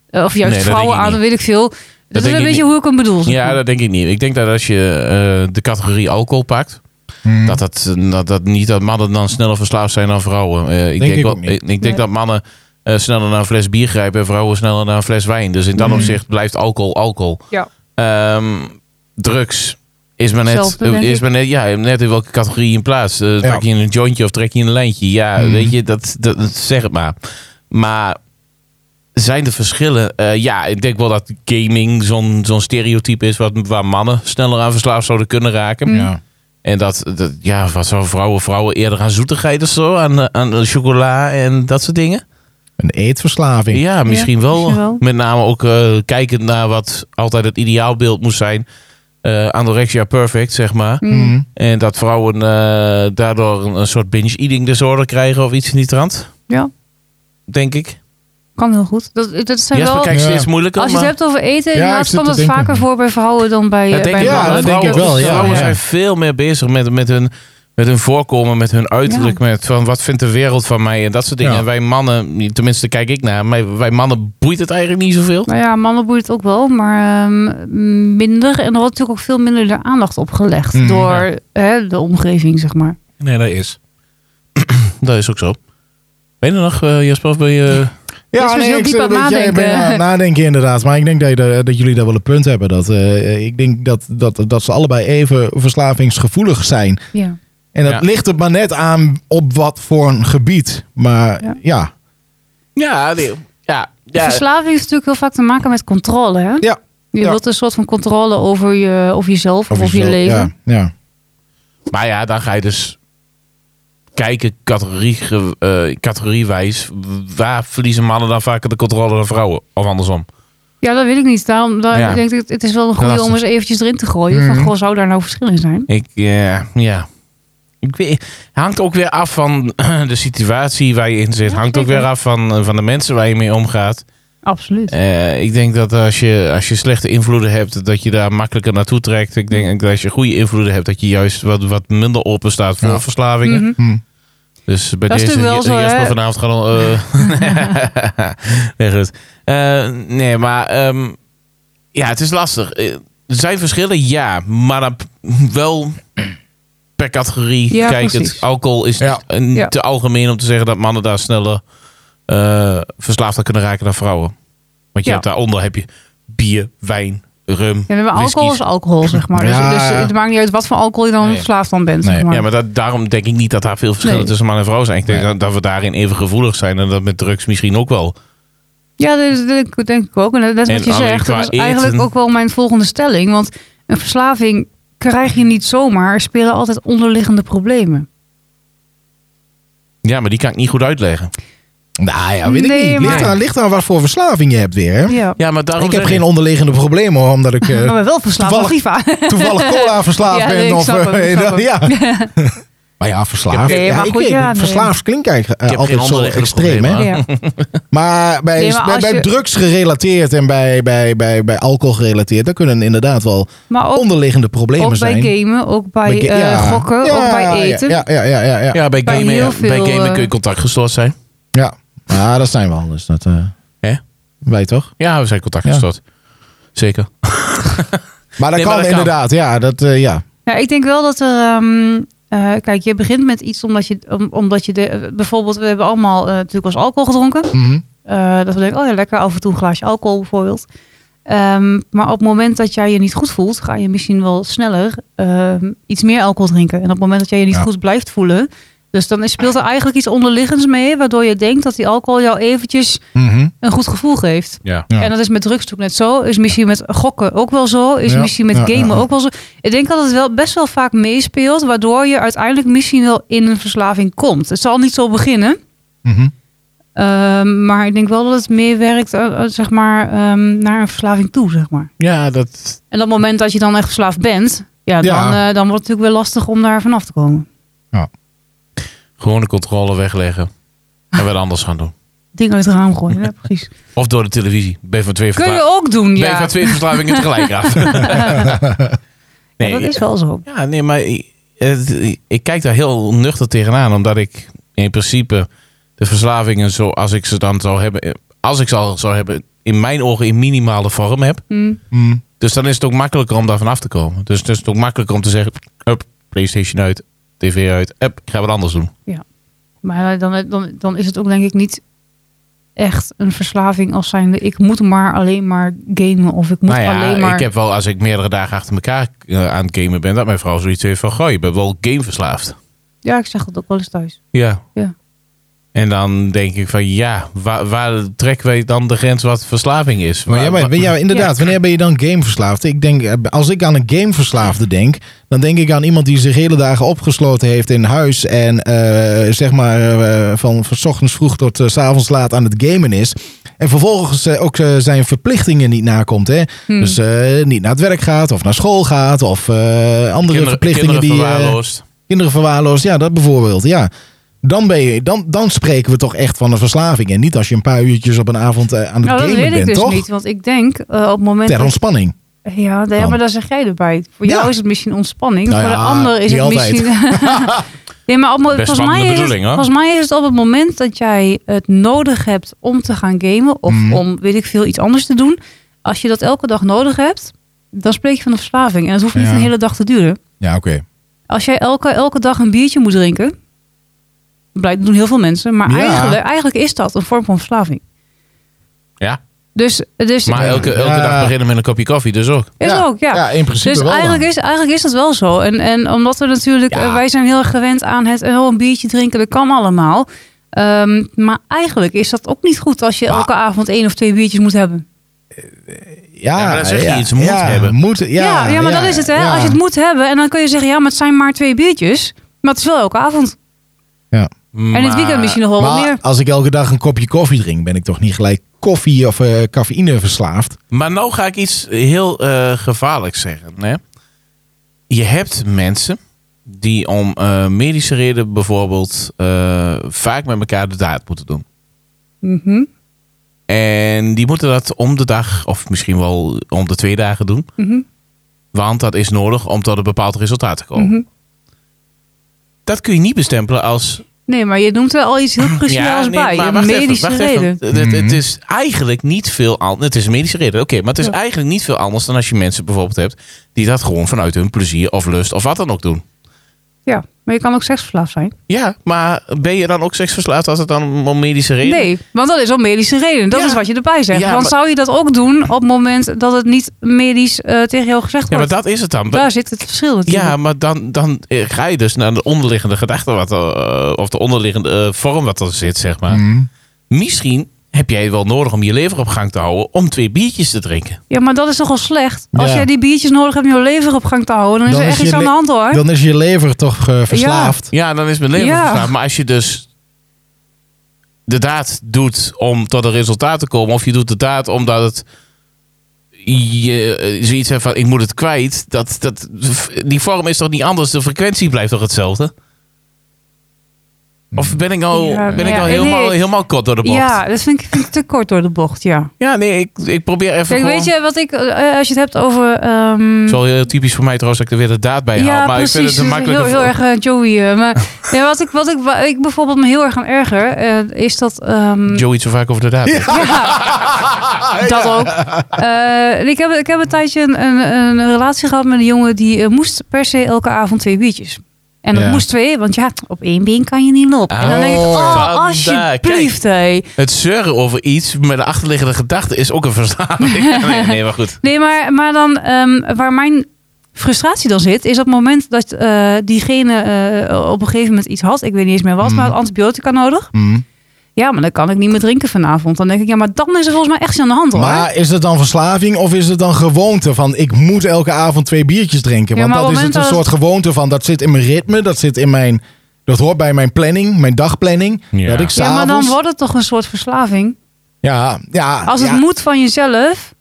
A: eh, of juist
C: Nee, dat
A: vrouwen
C: denk ik
A: aan,
C: niet.
A: weet ik veel. Dat, is
C: denk
A: een
C: ik
A: beetje
C: niet.
A: hoe ik hem bedoel. zeg
C: Ja,
A: maar.
C: dat denk ik niet. Ik denk dat als je eh, de categorie alcohol pakt,
B: Hmm.
C: dat, dat, dat dat niet dat mannen dan sneller verslaafd zijn dan vrouwen. Eh,
B: Denk
C: ik denk,
B: ik
C: wel,
B: ook niet.
C: ik, ik denk
A: Nee.
C: dat mannen eh, sneller naar een fles bier grijpen en vrouwen sneller naar een fles wijn. Dus
B: Mm.
C: in dat opzicht blijft alcohol alcohol.
A: Ja.
C: Ehm, drugs is maar, net,
A: Hetzelfde, denk
C: is
A: ik.
C: maar net, ja, net in welke categorie je in plaats. Eh,
B: Ja.
C: Pak je een jointje of trek je een lijntje. Ja,
B: Mhm.
C: weet je, dat, dat, dat- zeg het maar. Maar zijn de verschillen? Eh, ja, ik denk wel dat gaming zo'n zo'n stereotype is wat, waar mannen sneller aan verslaafd zouden kunnen raken.
A: Hmm. Mm.
B: Ja.
C: En dat, dat, ja, wat zouden vrouwen, vrouwen eerder aan zoetigheid of zo, aan, eh, aan eh, chocola en dat soort dingen?
B: Een eetverslaving.
C: Ja, misschien, wel.
A: misschien wel.
C: Met name ook eh, kijkend naar wat altijd het ideaalbeeld moest zijn. eh anorexia perfect, zeg maar.
A: Mm.
B: Mhm.
C: En dat vrouwen eh, daardoor een, een soort binge-eating disorder krijgen of iets in die trant,
A: ja,
C: denk ik.
A: kan heel goed. Dat, dat zijn
C: Ja,
A: wel...
C: we kijken
B: Ja.
C: steeds moeilijker.
A: Als je het
C: maar-
A: hebt over eten, inderdaad
B: ik zit
A: komt
B: te
A: dat
B: denken.
A: vaker voor bij vrouwen dan bij,
C: Ja,
A: eh,
C: denk
A: bij
C: ik
B: ja,
C: wel.
A: mannen.
B: dat denk ik
C: Vrouwen-
B: wel, ja.
C: Vrouwen
B: Ja.
C: zijn veel meer bezig met, met, hun, met hun voorkomen, met hun uiterlijk, met van wat vindt de wereld van mij en dat soort dingen.
B: Ja.
C: En wij mannen, tenminste kijk ik naar, maar wij mannen boeit het eigenlijk niet zoveel.
A: Nou ja, mannen boeit het ook wel, maar ehm, minder. En er wordt natuurlijk ook veel minder de aandacht op gelegd
B: Mhm,
A: door hè, de omgeving, zeg maar.
C: Nee, dat is. dat is ook zo. Ben je er nog, eh, Jasper? Of ben je...
A: Jasper is heel
B: ik
A: diep
B: zeg
A: aan
B: dat
A: het
B: jij
A: nadenken.
B: bent aan het nadenken inderdaad. Maar ik denk dat, je daar- dat jullie daar wel een punt hebben. Dat, eh, ik denk dat, dat, dat ze allebei even verslavingsgevoelig zijn.
A: Ja.
B: En dat
C: Ja.
B: ligt er maar net aan op wat voor een gebied. Maar ja,
A: Ja.
C: Ja, nee, ja. ja.
A: Verslaving heeft natuurlijk heel vaak te maken met controle. Hè?
B: Ja,
A: Je
B: ja.
A: wilt een soort van controle over, je, over jezelf of
B: Of
A: over je
B: zo,
A: leven.
B: Ja, ja.
C: Maar ja, dan ga je dus kijken categorie, eh, categoriewijs. Waar verliezen mannen dan vaker de controle dan vrouwen? Of andersom.
A: Ja, dat weet ik niet. Daarom daarom
C: Ja.
A: denk ik, het is wel een goede
C: Lastig.
A: om eens eventjes erin te gooien.
B: Mhm.
A: Van, goh, zou daar nou verschil in zijn?
C: Ik, ja, ja. Ik weet, hangt ook weer af van *clears throat* de situatie waar je in zit.
A: Ja,
C: hangt ook
A: zeker.
C: weer af van, eh, van de mensen waar je mee omgaat.
A: Absoluut.
C: Eh, ik denk dat als je, als je slechte invloeden hebt, dat je daar makkelijker naartoe trekt. Ik denk dat als je goede invloeden hebt, dat je juist wat, wat minder open staat voor
B: Ja.
C: verslavingen.
A: Mhm.
B: Hm.
C: Dus bij
A: Dat is
C: deze,
A: natuurlijk wel
C: Ja-
A: zo,
C: Jasper
A: hè?
C: vanavond gaat al... eh,
A: *laughs*
C: nee, goed. Eh, nee, maar ehm, ja, het is lastig. Eh, Er zijn verschillen, ja. Maar dan p- wel per categorie
A: Ja,
C: kijkend.
A: precies.
C: Alcohol is
B: Ja.
C: eh, niet
A: Ja.
C: te algemeen om te zeggen dat mannen daar sneller eh, verslaafd aan kunnen raken dan vrouwen. Want je
A: Ja.
C: hebt daaronder heb je bier, wijn, rum,
A: Ja, maar alcohol
C: whiskies.
A: is alcohol, zeg maar.
B: Ja.
A: Dus, dus het maakt niet uit wat voor alcohol je dan
B: Nee.
A: verslaafd aan bent.
B: Nee.
A: Zeg maar.
C: Ja, maar dat, daarom denk ik niet dat daar veel verschillen
A: Nee.
C: tussen man en vrouw zijn. Ik denk
B: Nee.
C: dat, dat we daarin even gevoelig zijn en dat met drugs misschien ook wel.
A: Ja, dat denk, ik- denk ik ook. En dat is
C: En
A: wat je
C: alleen
A: zegt.
C: qua
A: Dat is eigenlijk
C: eten.
A: ook wel mijn volgende stelling. Want een verslaving krijg je niet zomaar. Er spelen altijd onderliggende problemen.
C: Ja, maar die kan ik niet goed uitleggen.
B: Nou ja, weet ik
A: Nee,
B: niet. Ligt,
A: maar-
B: aan, ligt aan wat voor verslaving je hebt weer. Hè?
A: Ja.
C: Ja, maar daarom
B: ik heb
C: zeg
B: geen onderliggende problemen hoor, omdat ik eh,
A: *laughs* Maar wel verslaafd aan
B: toevallig-
A: FIFA.
B: toevallig cola verslaafd
A: Ja,
B: ben.
A: nee, ik
B: of,
A: snap hem,
B: eh,
A: ik snap hem.
B: *laughs* ja.
A: *laughs*
B: Maar ja, verslaafd.
A: Nee, maar
B: ik
A: goed,
B: weet
A: ja,
B: niet.
A: nee.
B: Verslaafd klinkt eigenlijk eh,
C: Ik heb geen
B: altijd zo
C: onderliggende
B: extreem. Hè?
C: problemen, hoor.
A: *laughs* Ja.
B: Maar bij,
A: Nee, maar
B: bij,
A: als
B: bij
A: je-
B: drugs gerelateerd en bij, bij, bij, bij alcohol gerelateerd, dan kunnen inderdaad wel
A: Maar ook,
B: onderliggende problemen
A: ook bij
B: zijn.
A: gamen, ook bij,
B: Bij ga-
A: eh,
B: ja.
A: gokken,
B: Ja,
A: ook bij eten.
B: Ja, ja, ja, ja. ja, ja.
C: Ja, bij,
A: Bij
C: gamen,
A: heel
C: ja. bij
A: veel,
C: gamen
A: eh,
C: kun je contactgestoord zijn.
B: ja. Maar dat zijn we anders. Dat, eh,
C: Hè?
B: Wij toch?
C: Ja, we zijn contactgestoord. Zeker.
B: Maar dat
C: Nee, maar
B: kan
C: dat kan.
B: inderdaad, ja. Dat, eh, ja.
A: Ja, ik denk wel dat er. ehm, eh, kijk, je begint met iets omdat je, om- omdat je de, bijvoorbeeld, we hebben allemaal eh, natuurlijk als alcohol gedronken.
B: Mhm.
A: eh, dat we denken, oh ja, lekker af en toe een glaasje alcohol bijvoorbeeld. Ehm, maar op het moment dat jij je niet goed voelt, ga je misschien wel sneller ehm, iets meer alcohol drinken. En op het moment dat jij je niet
B: Ja.
A: goed blijft voelen, dus dan is- speelt er eigenlijk iets onderliggends mee, waardoor je denkt dat die alcohol jou eventjes
B: Mhm.
A: een goed gevoel geeft.
C: Ja.
B: Ja.
A: En dat is met drugs natuurlijk net zo. Is misschien met gokken ook wel zo. Is
B: Ja,
A: misschien met
B: ja, ja,
A: gamen
B: ja.
A: ook wel zo. Ik denk dat het wel best wel vaak meespeelt. Waardoor je uiteindelijk misschien wel in een verslaving komt. Het zal niet zo beginnen.
B: Mhm.
A: ehm, maar ik denk wel dat het meer werkt eh, eh, zeg maar, ehm, naar een verslaving toe. Zeg maar.
C: ja, dat...
A: En op het moment dat je dan echt verslaafd bent. Ja, dan,
B: Ja.
A: eh, dan wordt het natuurlijk weer lastig om daar vanaf te komen.
C: Gewoon de controle wegleggen. En wat anders gaan doen.
A: Ding uit het raam gooien. Ja,
C: *laughs*
A: precies.
C: Of door de televisie. Ben van twee,
A: Kun
C: versla-
A: je ook doen,
C: ben
A: ja.
C: van twee
A: *laughs*
C: verslavingen tegelijk eh, af.
A: Ja, dat is wel zo.
C: Ja, nee, maar ik, het- ik kijk daar heel nuchter tegenaan. Omdat ik in principe de verslavingen, zo, als ik ze dan zou hebben, eh, als ik ze al zou hebben, in mijn ogen in minimale vorm heb.
A: Hm.
B: Mhm.
C: Dus dan is het ook makkelijker om daar vanaf te komen. Dus het is het ook makkelijker om te zeggen, up, Playstation uit, tv uit, up, ik ga wat anders doen.
A: Maar eh, dan, dan, dan is het ook denk ik niet echt een verslaving als zijnde... ik moet maar alleen maar gamen of ik moet
C: nou ja,
A: alleen maar...
C: ik heb wel, als ik meerdere dagen achter elkaar eh, aan het gamen ben, dat mijn vrouw zoiets heeft van, goh, je bent wel gameverslaafd.
A: Ja, ik zeg dat ook wel eens thuis.
C: Ja.
A: Ja.
C: En dan denk ik van, ja, waar, waar trekken wij dan de grens wat verslaving is?
B: Maar ja,
C: Waar-
B: maar,
C: waar-
B: ja, inderdaad,
A: Ja.
B: wanneer ben je dan gameverslaafd? Ik denk, eh, als ik aan een gameverslaafde denk, dan denk ik aan iemand die zich hele dagen opgesloten heeft in huis en eh, zeg maar eh, van, van 's ochtends vroeg tot eh, s avonds laat aan het gamen is. En vervolgens eh, ook eh, zijn verplichtingen niet nakomt. Hè?
A: Hm.
B: Dus eh, niet naar het werk gaat of naar school gaat of eh, andere verplichtingen
C: kinderen
B: die eh,
C: verwaarloosd.
B: kinderen verwaarloosd. Ja, dat bijvoorbeeld. Ja. Dan, ben je, dan, dan spreken we toch echt van een verslaving. En niet als je een paar uurtjes op een avond eh, aan het
A: Nou, dat
B: gamen
A: weet
B: bent,
A: ik dus
B: toch?
A: niet, want ik denk eh, op het moment...
B: Ter
A: dat-
B: ontspanning.
A: ja, nee,
B: Dan.
A: maar daar zeg jij erbij. Voor
B: Ja.
A: jou is het misschien ontspanning,
B: Nou
A: voor de
B: ja,
A: ander is
B: niet
A: het
B: altijd.
A: misschien...
B: *laughs*
A: nee, maar op, het moment-
C: Best
A: volgens,
C: spannende
A: mij is het,
C: bedoeling, hoor.
A: volgens mij is het op het moment dat jij het nodig hebt om te gaan gamen... of
B: Mhm.
A: om, weet ik veel, iets anders te doen... als je dat elke dag nodig hebt, dan spreek je van een verslaving. En dat hoeft niet
B: Ja.
A: een hele dag te duren.
B: Ja, oké.
A: Als jij elke, elke dag een biertje moet drinken. Blijkt, dat doen heel veel mensen. Maar
B: Ja.
A: eigenlijk, eigenlijk is dat een vorm van verslaving.
C: Ja,
A: Dus, dus
C: maar elke, elke
B: eh, Ja.
C: dag beginnen met een kopje koffie, dus ook.
A: is ook, ja.
B: Ja, in principe
A: dus
B: wel. dan.
A: eigenlijk is, eigenlijk is dat wel zo. En, en omdat we natuurlijk,
B: Ja.
A: eh, wij zijn heel erg gewend aan het oh, een biertje drinken, dat kan allemaal. Ehm, maar eigenlijk is dat ook niet goed als je
B: Maar-
A: elke avond één of twee biertjes moet hebben.
B: ja,
C: Ja, maar dan zeg je
B: ja,
C: iets moet
B: ja,
C: hebben.
B: Moet, ja,
A: ja, ja, maar dat is het, hè?
B: ja.
A: Als je het moet hebben en dan kun je zeggen, ja, maar het zijn maar twee biertjes. Maar het is wel elke avond. En in het weekend misschien nog wel wat
B: Maar
A: meer.
B: als ik elke dag een kopje koffie drink, ben ik toch niet gelijk koffie of eh, cafeïne verslaafd?
C: Maar nou ga ik iets heel eh, gevaarlijks zeggen. Hè? Je hebt mensen die om eh, medische reden bijvoorbeeld eh, vaak met elkaar de daad moeten doen.
A: Mhm,
C: En die moeten dat om de dag, of misschien wel om de twee dagen doen.
A: mhm,
C: Want dat is nodig om tot een bepaald resultaat te komen.
A: mhm.
C: Dat kun je niet bestempelen als...
A: Nee, maar je noemt wel al iets
B: *laughs*
A: heel cruciaals
C: nee,
A: bij.
C: maar
A: Een
C: wacht even,
A: medische
C: wacht even.
A: reden.
C: Het- Het, het is eigenlijk niet veel anders. Het is een medische reden, oké. maar het is
A: Ja.
C: eigenlijk niet veel anders dan als je mensen bijvoorbeeld hebt... die dat gewoon vanuit hun plezier of lust of wat dan ook doen.
A: Ja, maar je kan ook seksverslaafd zijn.
C: Ja, maar ben je dan ook seksverslaafd als het dan om medische reden?
A: Nee, want dat is om medische reden. Dat
C: Ja.
A: is wat je erbij zegt.
C: Ja,
A: want
C: maar-
A: zou je dat ook doen op het moment dat het niet medisch eh, tegen jou gezegd
C: Ja, maar
A: wordt?
C: dat is het dan.
A: Daar zit het verschil natuurlijk.
C: Ja, maar dan, dan eh, ga je dus naar de onderliggende gedachte wat, eh, of de onderliggende eh, vorm wat er zit, zeg maar.
B: Mhm.
C: Misschien heb jij wel nodig om je lever op gang te houden om twee biertjes te drinken.
A: Ja, maar dat is toch al slecht? Als
B: Ja.
A: jij die biertjes nodig hebt om je lever op gang te houden, dan is
B: Dan
A: er
B: is
A: echt
B: je
A: iets aan de
B: le-
A: hand hoor.
B: Dan is je lever toch eh, verslaafd?
C: Ja, dan is mijn lever
A: Ja.
C: verslaafd. Maar als je dus de daad doet om tot een resultaat te komen, of je doet de daad omdat het je eh, zoiets hebt van ik moet het kwijt, dat, dat, die vorm is toch niet anders? De frequentie blijft toch hetzelfde? Of ben ik nou,
A: Ja,
C: ben
A: nou
C: ik
A: ja,
C: nou
A: nee.
C: helemaal, helemaal kort door de bocht?
A: Ja, dat vind ik, vind ik te kort door de bocht, ja.
C: Ja, nee, ik, ik probeer even.
A: Kijk,
C: gewoon-
A: weet je wat ik, eh, als je het hebt over... ehm,
C: Het is wel heel typisch voor mij trouwens dat ik er weer de daad bij haal. Maar ik vind het een
A: dus
C: makkelijke.
A: Heel, heel erg eh, Joey. eh, maar
C: *laughs*
A: ja, wat, ik, wat ik, wa- ik bijvoorbeeld me heel erg aan erger, eh, is dat... ehm,
C: Joey het zo vaak over de daad. heeft.
A: *laughs* Ah,
B: Ah,
A: ja, dat ook.
B: *laughs*
A: Eh, ik, heb, ik heb een tijdje een, een, een relatie gehad met een jongen die eh, moest per se elke avond twee biertjes. En dat
B: Ja.
A: moest twee, want ja, op één been kan je niet op. en dan denk ik,
C: Oh,
A: oh,
C: ja.
A: alsjeblieft, hé.
C: Het zeuren over iets met de achterliggende gedachte is ook een
A: *laughs*
C: verslaving. nee, nee, maar goed.
A: Nee, maar, maar dan ehm, waar mijn frustratie dan zit, is op het moment dat eh, diegene eh, op een gegeven moment iets had, ik weet niet eens meer wat,
B: Mm.
A: maar had antibiotica nodig.
B: Mm.
A: Ja, maar dan kan ik niet meer drinken vanavond. Dan denk ik, ja, maar dan is er volgens mij echt iets aan de hand hoor.
B: Maar is het dan verslaving of is het dan gewoonte van ik moet elke avond twee biertjes drinken?
A: Ja,
B: Want
A: maar
B: dat
A: op
B: is
A: het
B: het een
A: moment
B: soort gewoonte van dat zit in mijn ritme, dat zit in mijn. Dat hoort bij mijn planning, mijn dagplanning.
C: Ja.
B: Dat ik
A: ja,
B: s'avonds...
A: maar dan wordt het toch een soort verslaving.
B: Ja, ja.
A: Als het
B: ja,
A: moet van jezelf.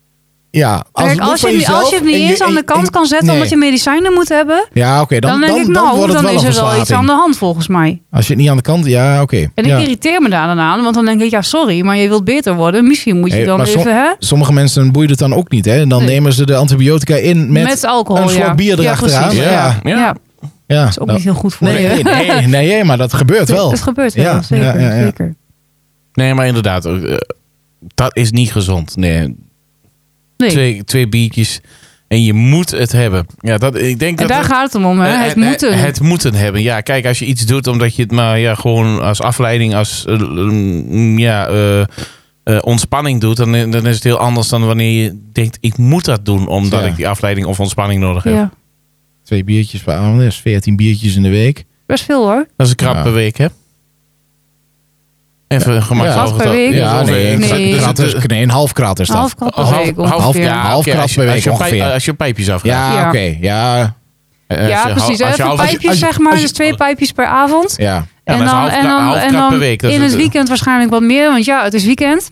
B: ja.
A: Als,
B: het moet
A: als, je,
B: van
A: hem-
B: jezelf
A: als je het niet
B: en
A: eens aan
B: en-
A: de kant
B: en-
A: kan zetten
B: nee.
A: omdat je medicijnen moet hebben.
B: Ja, oké.
A: Dan,
B: dan,
A: denk
B: dan,
A: ik, nou,
B: wordt
A: dan,
B: het wel
A: is
B: een
A: er wel iets
B: verslaving.
A: aan de hand volgens mij.
B: Als je het niet aan de kant... Ja, oké.
A: En
B: Ja.
A: ik irriteer me daar dan aan, want dan denk ik, ja, sorry, maar je wilt beter worden. Misschien moet je
B: Hey,
A: dan
B: maar som-
A: even, hè?
B: Sommige mensen boeien het dan ook niet. Hè? En Dan
A: Nee.
B: nemen ze de antibiotica in met...
A: Met, alcohol,
B: een slok
A: ja.
B: bier
A: ja,
B: erachteraan.
A: precies,
C: Ja.
A: Ja.
C: Ja.
A: Ja.
B: ja,
A: dat is ook
B: nou,
A: niet heel goed voor je.
B: Nee, nee, nee, nee, maar dat gebeurt wel.
A: Het gebeurt
B: Ja,
A: wel,
B: ja,
A: zeker.
B: ja, ja.
A: zeker.
C: Nee, maar inderdaad, eh, dat is niet gezond. Nee,
A: Nee.
C: twee, twee biertjes en je moet het hebben. Ja, dat, ik denk
A: En
C: dat
A: daar
C: dat-
A: gaat het om, hè?
C: eh,
A: Het
C: en- en-
A: moeten.
C: Het moeten hebben. Ja, kijk, als je iets doet omdat je het maar ja, gewoon als afleiding, als eh, mm, ja, eh, eh, ontspanning doet, dan, dan is het heel anders dan wanneer je denkt, ik moet dat doen omdat
B: Ja.
C: ik die afleiding of ontspanning nodig heb.
A: ja.
B: Twee biertjes per avond, dat is 14 biertjes in de week.
A: Best veel hoor.
C: Dat is een krap
B: Ja.
C: per week, hè? Even gemakkelijk.
A: Half per
C: overgetal.
A: week?
C: Ja,
A: nee,
C: nee.
A: nee.
C: Dus
B: Krat
C: het-
B: is, nee, een half krat is
A: Een
B: dat.
A: half krat per week ongeveer.
B: ja. half
C: oké,
B: krat
C: als-
B: per
C: als
B: week
C: je pij-
B: ongeveer.
C: Als je pijpjes afgaat.
B: ja,
A: Ja.
B: oké. ja,
C: Eh,
A: ja,
C: als je hal-
A: precies.
C: als je
A: Even
C: half-
A: pijpjes,
B: als je-
A: zeg maar.
B: als je-
A: dus twee pijpjes per avond.
B: ja.
C: Ja, maar dat is half kra- half krat per week, dat is
A: in
C: het-
A: het weekend waarschijnlijk wat meer. Want ja, het is weekend.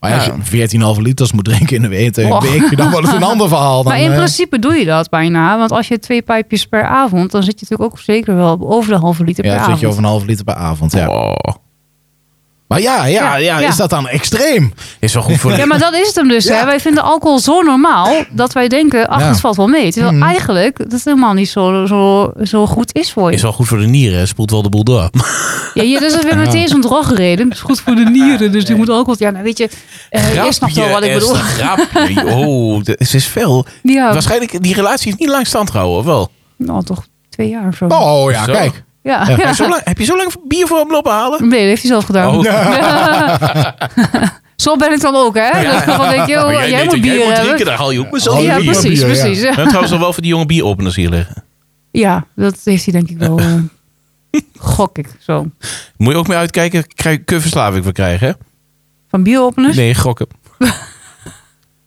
B: Maar ja,
C: Ja.
B: als je 14,5 liters moet drinken in de week,
A: Oh.
B: week,
A: *laughs*
B: dan wordt het een ander verhaal. Dan,
A: maar in
B: eh,
A: principe doe je dat bijna. Want als je twee pijpjes per avond, dan zit je natuurlijk ook zeker wel op over de halve liter
B: ja,
A: per
B: dan zit
A: avond.
B: je over een half liter per avond. Ja.
C: Oh,
B: Maar ja, ja, ja,
A: Ja, ja.
B: is dat dan extreem?
C: is wel goed voor
A: Ja,
C: de...
A: maar dat is het hem dus.
B: Ja.
A: Hè? Wij vinden alcohol zo normaal dat wij denken, ach,
B: Ja.
A: het valt wel mee. Terwijl
B: Mhm.
A: eigenlijk dat het helemaal niet zo, zo, zo goed is voor je.
C: *laughs* Is wel goed voor de nieren, hè. spoelt wel de boel
A: Eh,
C: door.
A: Ja, ja, dus dat is weer meteen zo'n drogreden. Dat is goed voor de nieren, dus die moet alcohol... Ja, nou weet je, eh je snapt wel wat ik bedoel.
C: Grapje, oh,
A: *laughs*
C: dat is, is veel.
A: Ja,
C: Waarschijnlijk, die relatie is niet lang stand gehouden, of wel?
A: nou toch twee jaar of zo.
B: Oh ja,
C: Zo.
B: kijk.
A: Ja,
C: Heb,
A: ja.
C: je zo lang, heb je zo lang bier voor hem lopen halen?
A: Nee, dat heeft hij zelf gedaan.
C: Oh.
A: Zo ben ik dan ook, hè? Dat dan denk je, oh,
C: Maar
A: jij,
C: weet
A: moet
C: dat
A: bier
C: jij moet
A: hebben.
C: drinken, daar haal je ook maar zo
B: Oh,
C: bier.
A: ja,
B: bier.
A: precies,
B: Bier, ja.
A: precies.
C: We
A: Ja.
C: hebben trouwens al wel voor die jonge bieropeners hier liggen.
A: Ja, dat heeft hij denk ik wel. eh, gok ik zo.
C: Moet je ook mee uitkijken, krijg, kun je verslaving voor krijgen, hè?
A: Van bieropeners?
C: Nee, gokken.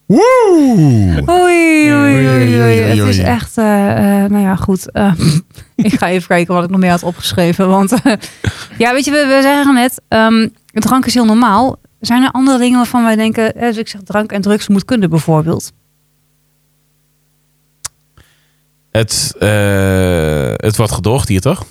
B: Woe!
A: Oei, oei,
B: Oei,
A: oei, oei.
B: oei,
A: Het
B: oei.
A: is echt, eh, eh, nou ja, goed. Eh, *laughs* ik ga even kijken wat ik nog meer had opgeschreven. Want eh, ja, weet je, we, we zeggen net, ehm, drank is heel normaal. Zijn er andere dingen waarvan wij denken, eh, dus ik zeg drank en drugs moet kunnen bijvoorbeeld?
C: Het, eh, het wordt gedoogd hier, toch?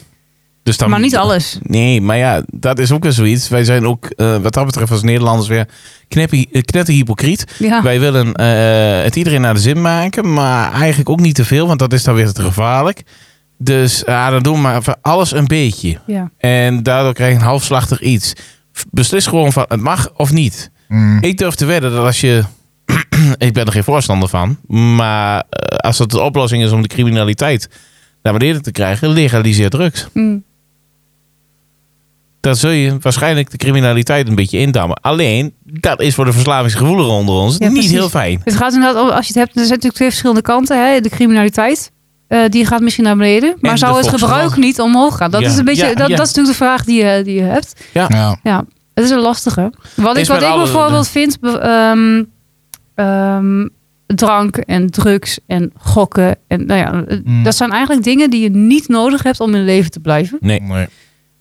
C: Dus dan,
A: maar niet alles.
C: Nee, maar ja, dat is ook weer zoiets. Wij zijn ook, eh, wat dat betreft als Nederlanders weer kneppie- eh, knetterhypocriet.
A: Ja,
C: Wij willen eh, het iedereen naar de zin maken, maar eigenlijk ook niet te veel, want dat is dan weer te gevaarlijk. Dus ja, dan doen we maar van alles een beetje.
A: ja.
C: En daardoor krijg je een halfslachtig iets. F- Beslis gewoon van het mag of niet.
B: Mm.
C: Ik durf te wedden dat als je. *clears throat* ik ben er geen voorstander van. Maar eh, als dat de oplossing is om de criminaliteit naar beneden te krijgen, legaliseer drugs.
A: Mm.
C: Dan zul je waarschijnlijk de criminaliteit een beetje indammen. Alleen, dat is voor de verslavingsgevoeligen onder ons
A: Ja,
C: niet
A: precies.
C: heel fijn.
A: Het gaat inderdaad, om- als je het hebt, er zijn natuurlijk twee verschillende kanten. Hè? De criminaliteit, eh, die gaat misschien naar beneden. Maar
C: En
A: zou
C: de
A: het gebruik
C: volksgezondheid.
A: niet omhoog gaan? Dat,
C: Ja,
A: is, een beetje,
C: ja,
A: dat,
C: ja.
A: dat is natuurlijk de vraag die, je- die je hebt.
B: Ja.
A: Ja, het is een lastige. Wat ik,
C: Is
A: wat
C: met
A: ik
C: alle-
A: bijvoorbeeld vind, be- ehm, ehm, drank en drugs en gokken. En, nou ja, eh,
B: Mm.
A: Dat zijn eigenlijk dingen die je niet nodig hebt om in leven te blijven.
C: Nee.
B: Nee.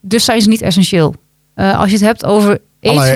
A: Dus zijn ze niet essentieel. Eh, als je het hebt over eten,
B: Allee.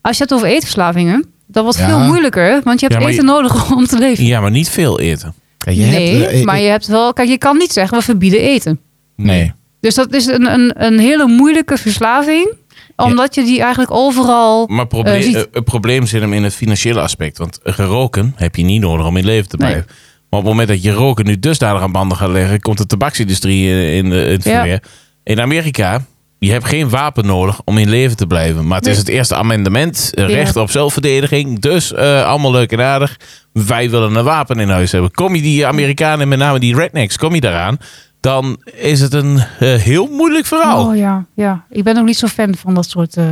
A: als je het hebt over eetverslavingen, dan wordt het
B: Ja.
A: veel moeilijker. Want je hebt
C: Ja, maar je-
A: eten nodig om te leven.
C: Ja, maar niet veel eten.
B: Ja, je
A: nee,
B: hebt, eh, eh,
A: maar je hebt wel. Kijk, je kan niet zeggen we verbieden eten.
B: Nee.
A: Dus dat is een, een, een hele moeilijke verslaving. Omdat je die eigenlijk overal.
C: Maar proble-
A: Eh, ziet.
C: eh, het probleem zit hem in het financiële aspect. Want geroken heb je niet nodig om in leven te
A: Nee.
C: blijven. Maar op het moment dat je roken nu dusdanig aan banden gaat leggen, komt de tabaksindustrie eh, in, de- in het
A: Ja.
C: verweer. In Amerika, je hebt geen wapen nodig om in leven te blijven. Maar het is
A: Nee.
C: het eerste amendement, eh,
A: Ja.
C: recht op zelfverdediging. Dus eh, allemaal leuk en aardig. Wij willen een wapen in huis hebben. Kom je die Amerikanen, met name die rednecks, kom je daaraan? dan is het een eh, heel moeilijk verhaal.
A: Oh ja, ja. Ik ben ook niet zo fan van dat soort. eh,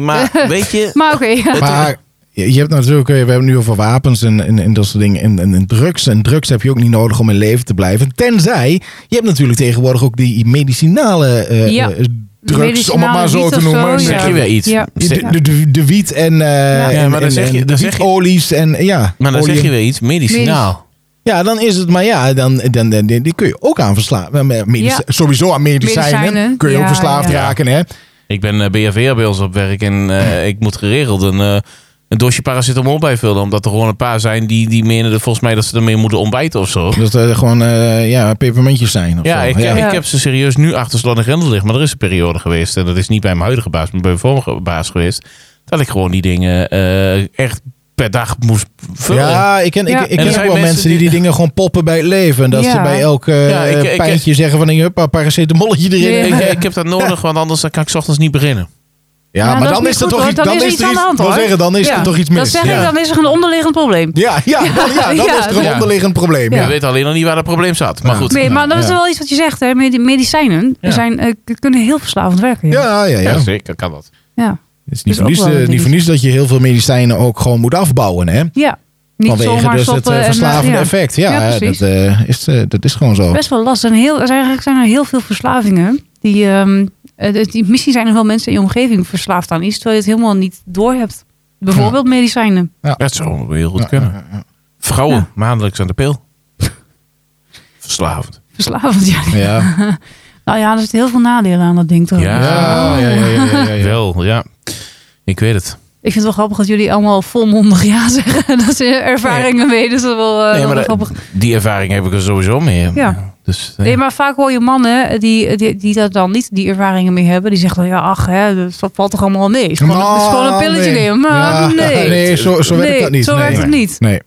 A: *laughs*
C: maar weet je,
A: Maar
B: *laughs*
A: oké. ja.
B: Maar je je hebt natuurlijk, eh, we hebben het nu over wapens en, en, en dat soort dingen. En, en, en drugs. En drugs heb je ook niet nodig om in leven te blijven. Tenzij, je hebt natuurlijk tegenwoordig ook die medicinale eh,
A: Ja.
B: eh, drugs, om het
A: Medicinale
B: maar zo
A: wiet
B: te
A: of
B: noemen.
A: zo,
C: dan zeg
A: ja.
C: je weer iets.
A: Ja.
C: Zeg-
B: De, de, de, de wiet en, eh en,
C: maar dan
B: en-
C: zeg je-
B: en
C: dan zeg je-
B: wietolies en ja.
C: maar dan
B: olie
C: zeg je
B: en-
C: weer iets medicinaal.
B: Ja, dan is het, maar ja, dan, dan, dan, die- die kun je ook aan verslaan. Met medici-
A: Ja.
B: Sowieso aan medicijnen,
A: Medicijnen,
B: kun je ook
A: ja,
B: verslaafd
C: ja.
B: raken. Hè?
C: Ik ben eh, BHV'er bij ons op werk en eh, ik moet geregeld een, eh, een doosje paracetamol bijvullen. Omdat er gewoon een paar zijn die, die menen dat volgens mij dat ze ermee moeten ontbijten of zo.
B: Dat er gewoon eh, ja, pepermuntjes zijn. Of
C: Ja,
B: zo.
C: ik,
B: ja.
C: ik heb ze serieus nu achter slag en grendel liggen. Maar er is een periode geweest, en dat is niet bij mijn huidige baas, maar bij mijn vorige baas geweest, dat ik gewoon die dingen eh, echt per dag moest vullen.
B: Ja, ik ken,
A: Ja. En
B: Ik, ik
C: er
B: ken ook
C: zijn
B: wel
C: mensen
B: mensen die
C: die-
B: die dingen gewoon poppen bij het leven. En dat ze
A: Ja.
B: bij elk eh,
C: Ja, ik- ik-
B: pijntje zeggen van... Huppa, paracetamolletje erin.
A: Ja.
B: Ja,
C: Ik, ik heb dat nodig, want anders dan kan ik 's ochtends niet beginnen.
A: Ja,
B: maar
A: Nou, dat
B: dan
A: niet
B: is er
A: goed,
B: toch
A: hoor.
B: iets...
A: Dan is er iets aan de hand,
B: Dan
A: hoor.
B: zeggen, dan is
A: Ja.
B: er toch iets
A: Dat
B: mis.
A: zeg
B: ja.
A: ik, dan is er een onderliggend probleem.
B: Ja,
A: *laughs*
B: ja, dan, ja, dan
A: Ja,
B: is er een
A: ja.
B: onderliggend probleem.
C: Je
B: Ja.
C: weet alleen nog niet waar dat probleem zat. Maar goed.
A: Nee, maar dat is
B: Ja.
A: wel iets wat je zegt, hè? Medi- Medicijnen
C: Ja.
A: zijn, eh, k- kunnen heel verslavend werken. Ja.
B: Ja, ja, ja.
C: Ja, zeker kan dat.
A: ja.
B: Het is
A: is
B: niet voor
A: ook
B: niets,
A: wel een
B: eh, niet
A: dingetje.
B: voor niets dat je heel veel medicijnen ook gewoon moet afbouwen. Hè?
A: Ja, niet
B: Vanwege
A: zomaar
B: dus het
A: stoppen.
B: eh,
A: en, eh,
B: verslavende
A: ja.
B: effect. Ja,
A: Ja,
B: eh, dat,
A: precies.
B: eh, is, eh, dat is gewoon zo.
A: Best wel lastig. En heel, er zijn, eigenlijk zijn er heel veel verslavingen. Die, ehm, eh, de- die, misschien zijn er wel mensen in je omgeving verslaafd aan iets, terwijl je het helemaal niet doorhebt. Bijvoorbeeld medicijnen.
C: Dat zou heel goed
B: Ja,
C: kunnen.
B: ja, ja.
C: Vrouwen,
A: Ja.
C: maandelijks aan de pil. *laughs* Verslavend.
A: Verslavend, ja. *laughs*
B: Ja.
A: Nou ja, er zitten heel veel nadelen aan dat ding toch. Dus
C: Ja.
B: Ja, ja, ja, ja, ja, ja.
C: Wel, ja. Ik weet het.
A: Ik vind het wel grappig dat jullie allemaal volmondig ja *laughs* zeggen. Dat zijn ervaringen mee, dus dat is wel, eh,
C: Nee,
A: wel
C: maar
A: grappig.
C: dat- die ervaring heb ik er sowieso mee.
A: Ja.
C: Dus, eh,
A: Nee, maar vaak hoor je mannen die, die, die dat dan niet, die ervaringen mee hebben. Die zeggen dan, ja, ach, hè, dat valt toch allemaal mee. Het is gewoon, het is gewoon een
B: Nou,
A: pilletje
B: nee.
A: nemen. Maar
B: Ja,
A: nee.
B: *laughs* Nee, zo, zo werkt
A: Nee,
B: dat niet.
A: Zo
B: nee.
A: werkt het niet.
B: Nee.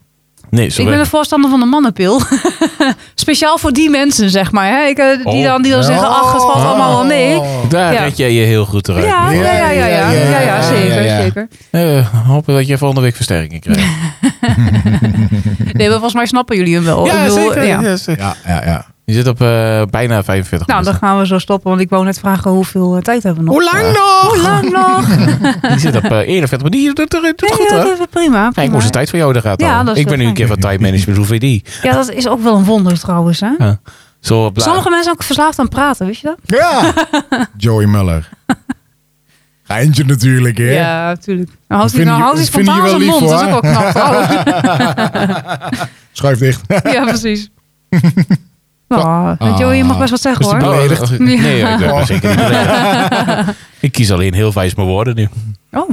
C: nee, zo
A: Ik ben
C: werkt-
A: een voorstander van de mannenpil. *laughs* Speciaal voor die mensen, zeg maar. Hè? Ik, eh, die
C: Oh.
A: dan, die dan zeggen, ach, het
B: Oh.
A: valt allemaal wel mee.
C: Daar
A: Ja.
C: red jij je heel goed eruit.
A: Ja, ja, ja, ja, ja, ja, ja,
B: Ja, ja,
A: zeker,
B: ja.
A: zeker.
C: Eh, hopen dat je volgende week versterking krijgt.
A: Nee, maar volgens mij snappen jullie hem wel. Oh, Ik bedoel, ja.
B: Ja, ja, ja.
C: Je zit op eh, bijna 45
A: Nou, dan
C: minuten.
A: gaan we zo stoppen, want ik wou net vragen hoeveel eh, tijd hebben we nog.
B: Hoe lang nog?
A: Hoe lang nog?
C: Je zit op eh, 41 minuten. Die doet het doet het goed
A: Nee,
C: hoor.
A: dat is prima.
C: Kijk,
A: prima.
C: hoe is de tijd voor jou daar gaat
A: Ja,
C: al.
A: dat is
C: Ik ben
A: wel
C: nu een keer
A: fijn.
C: van time management. Hoeveel die?
A: Ja, dat is ook wel een wonder trouwens. Hè?
C: Zo op la-
A: Sommige mensen zijn ook verslaafd aan praten, wist je dat?
B: Ja. Joey Muller. Geintje natuurlijk, hè?
A: natuurlijk. Nou, houdt hij
B: Vinden
A: nou houdt hij
B: jullie- vinden
A: spontaan zijn
B: jullie
A: mond,
B: wel
A: dat is ook wel knap. trouwens. *laughs*
B: Schuif dicht.
A: ja, precies. Oh,
B: Ah,
A: Joey, je mag best wat zeggen
B: is die
A: hoor.
B: beledigd?
C: Oh, nee, ik ben
B: Ja.
C: zeker niet beledigd.
A: *laughs*
C: Ik kies alleen heel wijs mijn woorden nu. *laughs*
A: Oh.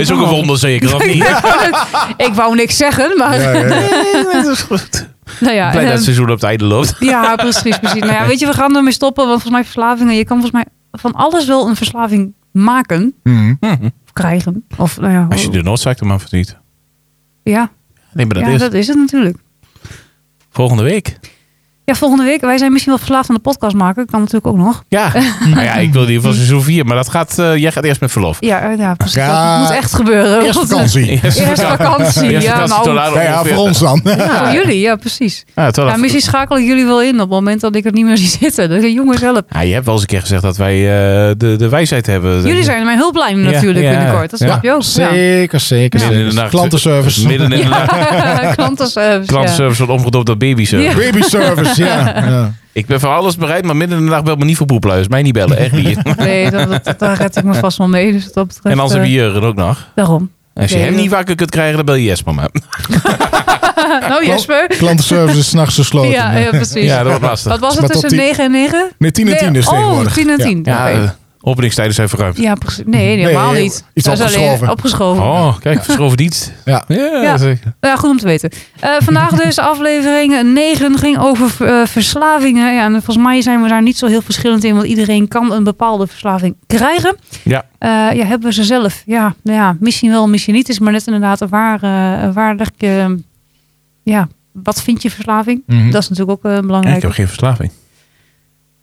C: is ook een
A: *laughs*
C: wonder zeker, of niet?
A: ik wou niks zeggen, maar *laughs*
B: Ja, ja, ja.
C: dat is goed.
A: nou ja.
C: Blij dat
A: ehm,
C: het seizoen op het einde loopt.
A: Ja, precies, precies. Nou ja, weet je, we gaan ermee stoppen. Want volgens mij verslavingen, je kan volgens mij van alles wel een verslaving maken
B: Mhm.
A: of krijgen. Of nou ja,
C: Als je de noodzaak er maar verdient.
A: ja,
C: Nee, maar dat
A: ja
C: is
A: dat is het natuurlijk.
C: volgende week.
A: Ja, volgende week. Wij zijn misschien wel verslaafd aan de podcast maken. Kan natuurlijk ook nog.
C: Ja, *laughs* nou ja, ik wil die van seizoen 4, maar dat gaat, eh, jij gaat eerst met verlof.
A: Ja, eh, ja precies.
B: Ja.
A: Dat moet echt gebeuren.
B: Eerst
A: want- *laughs*
B: vakantie.
A: Eerst vakantie.
C: Eerst
A: ja,
C: vakantie,
A: nou,
C: tot
B: Ja,
C: later
B: ja,
C: ongeveer.
B: voor ons dan.
A: ja, voor jullie. Ja, precies.
C: Ja, tot
A: Ja,
C: later.
A: misschien schakel ik jullie wel in op het moment dat ik het niet meer zie zitten. Dat ik, jongens, help.
C: Ja, Ah, je hebt wel eens een keer gezegd dat wij eh, de, de wijsheid hebben.
A: Jullie zijn mijn hulplijn natuurlijk
C: ja,
A: binnenkort. Dat snap je ook. Ja.
B: Zeker, zeker.
C: Midden in de
B: zeker.
C: nacht.
B: Klantenservice.
C: Midden in de nacht.
A: *laughs* Klantenservice. eh, ja.
C: Klantenservice wordt omgedoopt tot babyservice.
A: Ja.
B: Babyservice,
A: *laughs*
B: ja. ja.
C: Ik ben voor alles bereid, maar midden in de nacht belt me niet voor poepluis. Mij niet bellen, echt
A: *laughs*
C: niet.
A: Nee, dat, dat, dat- daar red ik me vast wel mee. Dus wat dat betreft,
C: en als heb
A: eh,
C: je Jurgen ook nog. *laughs*
A: Daarom.
C: Als je
A: Nee,
C: hem
A: dat-
C: niet wakker kunt krijgen, dan bel je Jesper maar.
A: nou, Jesper.
B: Klantenservice is s'nachts gesloten.
A: Ja, eh, ja, precies.
C: Oh, Ja, dat wordt lastig.
A: Wat was
B: Maar
A: het
B: tot
A: tussen
B: tien-
A: 9 en 9?
B: Nee, 10 en 10 dus
A: oh,
B: tegenwoordig.
A: 10 en 10.
C: Ja,
A: Oké.
C: eh, openingstijden zijn verruimd.
A: Ja, precies. Nee, helemaal
B: Nee,
A: niet.
B: iets
A: Dat is alleen
B: opgeschoven.
A: opgeschoven.
C: Oh, kijk, verschoven dienst.
B: Ja.
A: Ja.
C: zeker.
A: Ja, goed om te weten. Eh, vandaag
C: *laughs*
A: dus aflevering 9 ging over eh, verslavingen. Ja, en volgens mij zijn we daar niet zo heel verschillend in. Want iedereen kan een bepaalde verslaving krijgen.
C: Ja.
A: Eh, ja, hebben we ze zelf? Ja, nou ja, misschien wel, misschien niet. Het is maar net inderdaad een waar, eh, een waar leg je... ja, wat vind je verslaving?
C: Hm.
B: Mhm.
A: Dat is natuurlijk ook eh,
C: Ja, ik
A: belangrijk.
C: heb geen verslaving.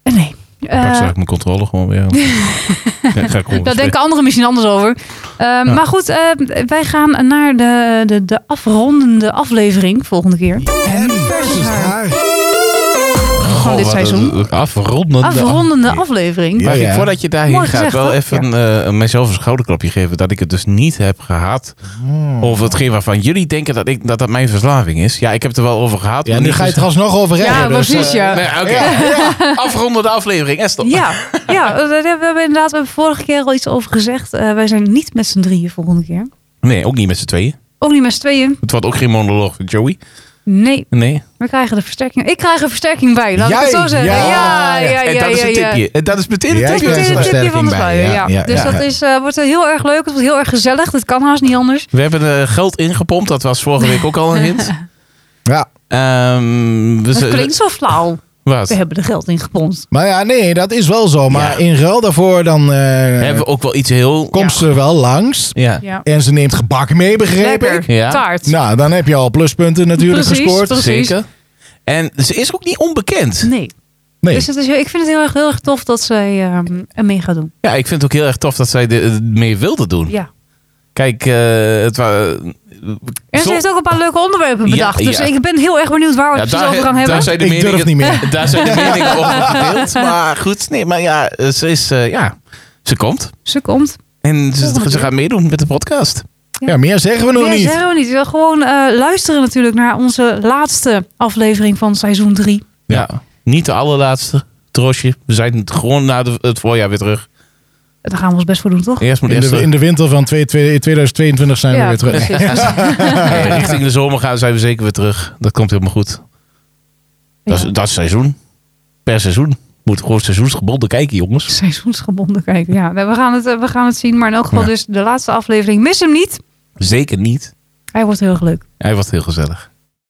A: Eh, nee.
C: Dan
A: Eh,
C: zou ik mijn controle gewoon
A: *laughs*
C: weer. Ja, ga ik gewoon
A: Daar
C: weer-
A: denken anderen misschien anders over. Eh, Maar goed, eh, wij gaan naar de, de, de afrondende aflevering volgende keer.
B: En versus haar.
A: gewoon dit
C: Oh, wat een
A: seizoen.
C: Afrondende.
A: Afrondende aflevering.
B: Ja,
C: Mag ik,
B: ja.
C: voordat je daarheen
A: Mooi
C: gaat,
A: gezegd,
C: wel
A: hoor.
C: even eh, mijzelf een schouderklopje geven dat ik het dus niet heb gehad.
B: Hmm.
C: Of hetgeen waarvan jullie denken dat, ik, dat dat mijn verslaving is. Ja, ik heb het er wel over gehad.
B: Ja,
C: maar
B: nu
C: niet
B: ga je
C: vers-
B: het er alsnog over hebben.
A: Ja,
B: dus,
A: precies,
B: eh,
A: ja.
C: *laughs* Nee, oké. *laughs* Afrondende aflevering, Esther.
A: Ja, ja, we we hebben inderdaad we hebben vorige keer al iets over gezegd. Eh, wij zijn niet met z'n drieën volgende keer.
C: Nee, ook niet met z'n tweeën.
A: Ook niet met z'n tweeën.
C: Het wordt ook geen monoloog van Joey.
A: Nee,
C: Nee.
A: we krijgen de versterking. Ik krijg een versterking bij, laat ik
B: Jij?
A: het zo zeggen.
B: Ja,
A: Ja, ja,
B: ja.
A: ja.
C: en dat is
A: ja,
C: een
A: ja.
C: tipje. En dat is meteen een
B: Ja,
C: tipje.
A: Meteen
B: Ja,
A: een
B: een
A: tipje van de
B: versterking bij,
A: sluier,
B: ja,
A: ja.
B: ja,
A: Dus
B: ja.
A: dat is, eh, wordt heel erg leuk, het wordt heel erg gezellig. Dit kan haast niet anders.
C: We hebben eh, geld ingepompt. Dat was vorige week ook al een
A: *laughs*
C: hint.
B: Ja.
C: Ehm, we z-
A: Het klinkt zo flauw.
C: Wat?
A: We hebben er geld in gepompt.
B: Maar ja, nee, dat is wel zo. Maar
C: Ja.
B: in ruil daarvoor dan eh,
C: Hebben we ook wel iets heel...
B: komt ze wel langs.
C: Ja.
A: Ja.
B: En ze neemt gebak mee, begreep ik.
A: Lekker.
C: Ja.
A: Taart.
B: Nou, dan heb je al pluspunten natuurlijk
A: Precies,
B: gescoord.
A: precies.
C: Zeker. En ze is ook niet onbekend.
A: Nee.
B: Nee.
A: Dus het is, ik vind het heel erg, heel erg tof dat zij ehm ermee gaat doen.
C: Ja, ik vind het ook heel erg tof dat zij dit mee wilde doen.
A: Ja.
C: Kijk, eh, het was...
A: En ze heeft ook een paar leuke onderwerpen
C: Ja,
A: bedacht. Dus
C: ja.
A: ik ben heel erg benieuwd waar we het precies over gaan hebben.
C: zijn de
B: Ik
C: meningen,
B: durf niet meer.
C: *laughs* Daar
A: *laughs*
C: zijn de meningen over verdeeld. Maar goed, nee, maar ja, ze is... eh, ja, ze komt.
A: Ze komt.
C: En ze,
A: Volgende
C: ze
A: keer.
C: gaat meedoen met de podcast.
B: Ja, meer zeggen we nog
A: Nee,
B: niet.
A: eh, zeggen we niet. We gewoon eh, luisteren natuurlijk naar onze laatste aflevering van seizoen 3.
C: Ja. Niet de allerlaatste. Trosje. We zijn gewoon na de, het voorjaar weer terug.
A: Daar gaan we ons best voor doen, toch?
C: Eerst moet
B: In
C: eerst
B: de, in de winter van twee- twee- 2022 zijn we
A: Ja,
B: weer terug.
A: precies.
C: *laughs* eh, richting de zomer gaan, zijn we zeker weer terug. Dat komt helemaal goed. Dat, is,
A: Ja.
C: dat is seizoen. Per seizoen. Moet gewoon seizoensgebonden kijken, jongens.
A: Seizoensgebonden kijken. Ja, we gaan het, eh, we gaan het zien. Maar in elk geval
C: Ja.
A: dus de laatste aflevering. Mis hem niet.
C: Zeker niet.
A: Hij wordt heel erg leuk.
C: Hij was heel gezellig.